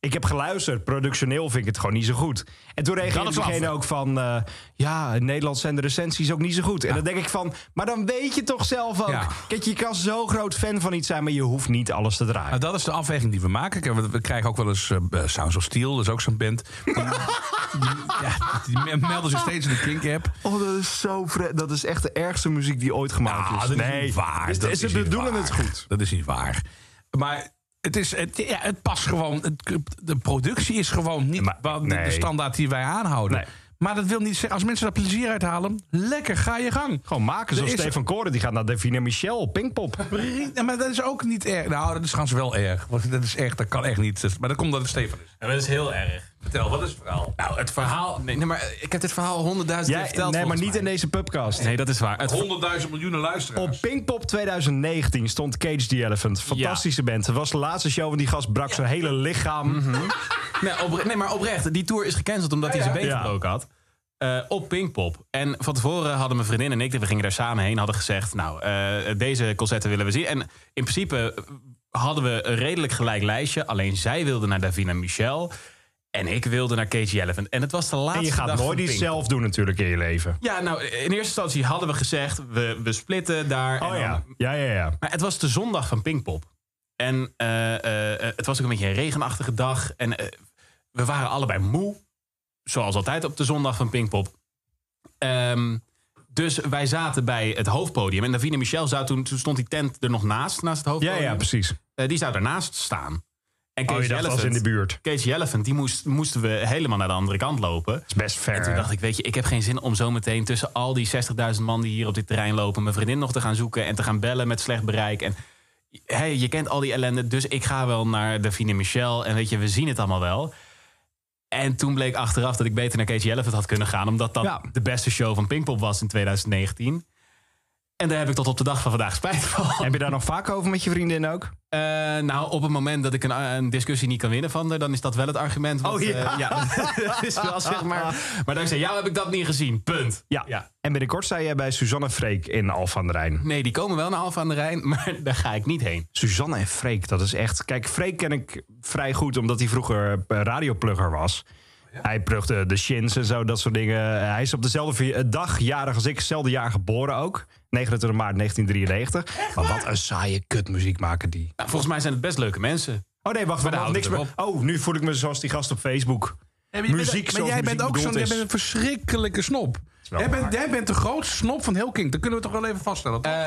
S2: Ik heb geluisterd, productioneel vind ik het gewoon niet zo goed. En toen reageerde
S3: is af.
S2: diegene ook van... eh, ja, in Nederland zijn de recensies ook niet zo goed. En dan denk ik van, maar dan weet je toch zelf ook...
S3: Ja.
S2: Kijk, je kan zo groot fan van iets zijn... maar je hoeft niet alles te draaien.
S3: Nou, dat is de afweging die we maken. Kijk, we- We krijgen ook wel eens eh, eh, Sounds of Steel, dat is ook zo'n band. (laughs) Die, die- ja, die me- melden zich steeds in de Kink-app.
S2: Oh, dat is zo vre- Dat is echt de ergste muziek die ooit gemaakt
S3: Ah,
S2: is.
S3: dat is
S2: nee,
S3: niet waar.
S2: Dus
S3: dat
S2: ze
S3: is niet
S2: bedoelen
S3: waar.
S2: het goed.
S3: Dat is niet waar. Maar het, is, het, ja, het past gewoon. Het, de productie is gewoon niet
S2: Maar-
S3: wat-
S2: nee.
S3: de standaard die wij aanhouden.
S2: Nee.
S3: Maar dat wil niet zeggen, als mensen daar plezier uit halen, lekker, ga je gang.
S2: Gewoon maken zoals
S3: Er is-
S2: Stefan Koren. Die gaat naar Davina Michel, (laughs) Pinkpop.
S3: Pri- Ja, maar dat is ook niet erg. Nou, dat is trouwens wel erg. Want Dat is echt, dat kan echt niet. Maar dat komt omdat het Stefan is.
S4: dat is heel erg.
S3: Vertel, wat is het verhaal?
S4: Nou, het verhaal... Nee, nee, maar eh, ik heb dit verhaal honderdduizend
S2: Ja,
S4: keer verteld.
S2: nee, maar
S4: volgens
S2: niet
S4: mij.
S2: in deze podcast.
S4: Nee, dat is waar. Het ver-
S3: 100.000 miljoenen luisteraars.
S2: Op Pinkpop 2019 stond Cage the Elephant. Fantastische band. Het was de laatste show van die gast brak zijn hele lichaam.
S4: Mhm. Nee, opre- nee, maar oprecht. Die tour is gecanceld omdat hij zijn been
S2: Ja.
S4: gebroken had. Eh, op Pinkpop. En van tevoren hadden mijn vriendin en ik, we gingen daar samen heen, hadden gezegd: Nou, eh, deze concerten willen we zien. En in principe eh, hadden we een redelijk gelijk lijstje. Alleen zij wilde naar Davina Michel. En ik wilde naar Cage Elephant. En het was de laatste.
S2: En je gaat
S4: dag van
S2: nooit iets
S4: Pinkpop.
S2: zelf doen natuurlijk in je leven.
S4: Ja, nou, in eerste instantie hadden we gezegd: We, we splitten daar. en
S2: Oh
S4: dan-
S2: ja. Ja, ja, ja.
S4: maar het was de zondag van Pinkpop. En eh, eh, eh, het was ook een beetje een regenachtige dag. En eh, we waren allebei moe. Zoals altijd op de zondag van Pinkpop. Ehm, dus wij zaten bij het hoofdpodium. En Davine Michel zou toen, toen stond die tent er nog naast, naast het
S2: Ja,
S4: hoofdpodium.
S2: ja, precies.
S4: Eh, die zou daarnaast staan. En
S2: Oh, je
S4: Casey
S2: dacht als in de
S4: Elephant,
S2: buurt. Het
S4: Casey Elephant, die moest, moesten we helemaal naar de andere kant lopen.
S2: is best ver.
S4: En toen dacht ik, weet je, ik heb geen zin om zo meteen tussen al die 60.000 man die hier op dit terrein lopen... mijn vriendin nog te gaan zoeken en te gaan bellen met slecht bereik. En hey, je kent al die ellende, dus ik ga wel naar Davine Michel. En weet je, we zien het allemaal wel. En toen bleek achteraf dat ik beter naar Casey Elephant had kunnen gaan... omdat dat
S2: Ja.
S4: de beste show van Pinkpop was in 2019. En daar heb ik tot op de dag van vandaag spijt van.
S2: Heb je daar nog vaak over met je vriendin ook?
S4: Eh, nou, op het moment dat ik een, een discussie niet kan winnen van haar, dan is dat wel het argument. want,
S2: Oh, ja.
S4: eh, (laughs) dat is wel zeg maar. Maar dankzij jou heb ik dat niet gezien. Punt.
S2: Ja.
S4: Ja.
S2: En binnenkort sta jij bij Suzanne Freek in Alphen aan de Rijn.
S4: Nee, die komen wel naar Alfa aan de Rijn, (laughs) maar daar ga ik niet heen.
S2: Suzanne en Freek, dat is echt... Kijk, Freek ken ik vrij goed, omdat hij vroeger eh, radioplugger was.
S3: Oh
S2: Hij plugde de shins en zo, dat soort dingen. Hij is op dezelfde vi- eh, dag jarig als ik, hetzelfde jaar geboren ook. 29 maart 1993. maar wat een saaie kutmuziek maken die.
S4: Nou, volgens mij zijn het best leuke mensen.
S2: Oh nee, wacht, we hadden niks
S4: houden
S2: meer. Oh, nu voel ik me zoals die gast op Facebook. muziek
S3: maar
S2: zoals
S3: jij
S2: muziek
S3: bent ook
S2: bedoeld
S3: zo'n jij
S2: is.
S3: bent een verschrikkelijke snop.
S2: wel
S3: Jij bent,
S2: waar.
S3: jij bent de grootste snop van heel King. Dat kunnen we toch wel even vaststellen. toch?
S4: Eh,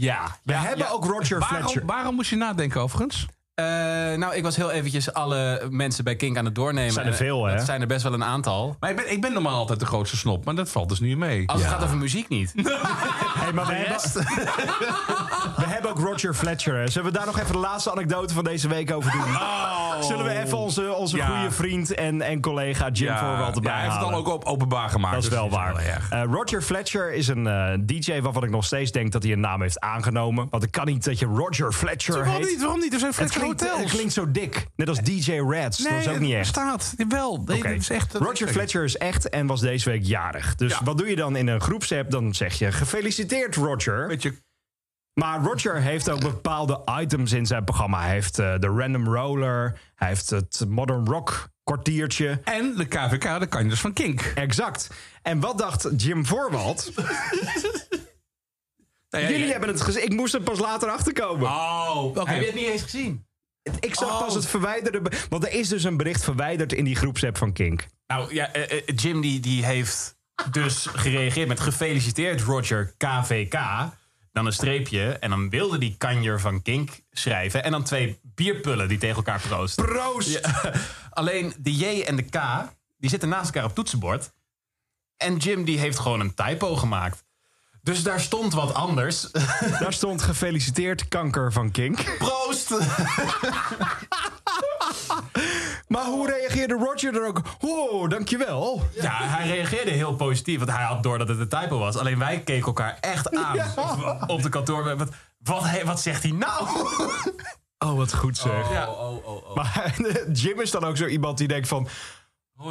S4: ja.
S2: We
S4: Ja,
S2: hebben
S4: ja.
S2: ook Roger
S3: waarom,
S2: Fletcher.
S3: waarom moest je nadenken overigens?
S4: Eh, nou, ik was heel eventjes alle mensen bij Kink aan het doornemen.
S2: Zijn er veel, hè?
S4: Het zijn er best wel een aantal.
S3: Maar ik ben, ik ben normaal altijd de grootste snop, maar dat valt dus nu mee.
S4: Als het gaat over muziek niet.
S2: Hey, maar we, hebben, (laughs) we hebben ook Roger Fletcher. hè. Zullen we daar nog even de laatste anekdote van deze week over doen?
S3: Ah, Oh.
S2: Zullen we even onze, onze
S3: Ja.
S2: goede vriend en, en collega Jim
S3: ja,
S2: Voorwald erbij
S3: ja, hij heeft het
S2: halen?
S3: dan ook op openbaar gemaakt.
S2: Dat is
S3: dus
S2: wel
S3: dat
S2: waar.
S3: erg.
S2: Eh, Roger Fletcher is een eh, DJ waarvan ik nog steeds denk dat hij een naam heeft aangenomen. Want het kan niet dat je Roger Fletcher
S3: Waarom
S2: heet.
S3: niet? Waarom niet? Er zijn
S2: Het
S3: Fletcher
S2: klinkt,
S3: Hotels.
S2: het klinkt zo dik. Net als DJ Reds. dat is ook niet echt.
S3: staat. Wel. Nee,
S2: Oké.
S3: dat is echt, dat
S2: Roger
S3: is-
S2: Fletcher is echt en was deze week jarig. Dus
S3: Ja.
S2: wat doe je dan in een groepsapp? Dan zeg je gefeliciteerd Roger.
S3: Beetje
S2: Maar Roger heeft ook bepaalde items in zijn programma. Hij heeft eh, de Random Roller, hij heeft het Modern Rock kwartiertje.
S3: En de KVK, de kanjers van Kink.
S2: Exact. En wat dacht Jim Voorwald? Jullie hebben het gezien. Ik moest er pas later achter komen.
S3: Oh, oké.
S4: Heb je het niet eens gezien?
S2: ik zag
S3: oh.
S2: pas het verwijderde. be- Want er is dus een bericht verwijderd in die groepsapp van Kink.
S4: Nou ja, eh, eh, Jim die, die heeft dus gereageerd met gefeliciteerd Roger KVK. Dan een streepje en dan wilde die kanjer van Kink schrijven. En dan twee bierpullen die tegen elkaar proosten.
S2: Proost!
S4: Ja. Alleen de J en de K, die zitten naast elkaar op toetsenbord. En Jim die heeft gewoon een typo gemaakt. Dus daar stond wat anders.
S2: Daar stond gefeliciteerd kanker van Kink.
S4: Proost!
S2: Maar hoe reageerde Roger er ook? Oh, dankjewel.
S4: Ja, hij reageerde heel positief, want hij had door dat het een typo was. Alleen wij keken elkaar echt aan
S2: Ja.
S4: op de kantoor. Wat, wat, he- wat zegt hij nou?
S2: Oh, wat goed zeg.
S4: Ja.
S2: Oh. Maar (laughs) Jim is dan ook zo iemand die denkt van...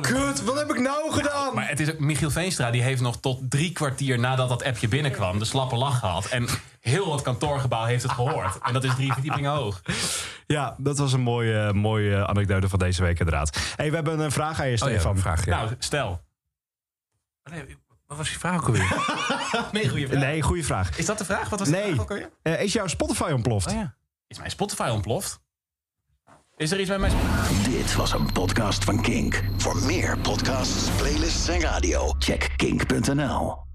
S2: Kut, wat heb ik nou gedaan?
S4: Maar het is ook, Michiel Veenstra die heeft nog tot drie kwartier nadat dat appje binnenkwam... de slappe lach gehad. En heel het kantoorgebouw heeft het gehoord. En dat is drie verdiepingen hoog.
S2: Ja, dat was een mooie, mooie anekdote van deze week inderdaad. Hey, we hebben een vraag aan je,
S3: Oh ja,
S2: Stefan.
S3: vraag. Ja.
S4: Nou, stel.
S3: nee, wat was die vraag ook alweer?
S4: Nee, goede vraag.
S2: Nou, Nee, goede vraag.
S4: Is dat de vraag? Wat was de
S2: Nee.
S4: vraag ook alweer?
S2: Eh, is jouw Spotify ontploft?
S3: Oh ja.
S4: Is mijn Spotify ontploft? Is er iets met mijn Spotify?
S1: Dit was een podcast van Kink. Voor meer podcasts, playlists en radio, check kink.nl.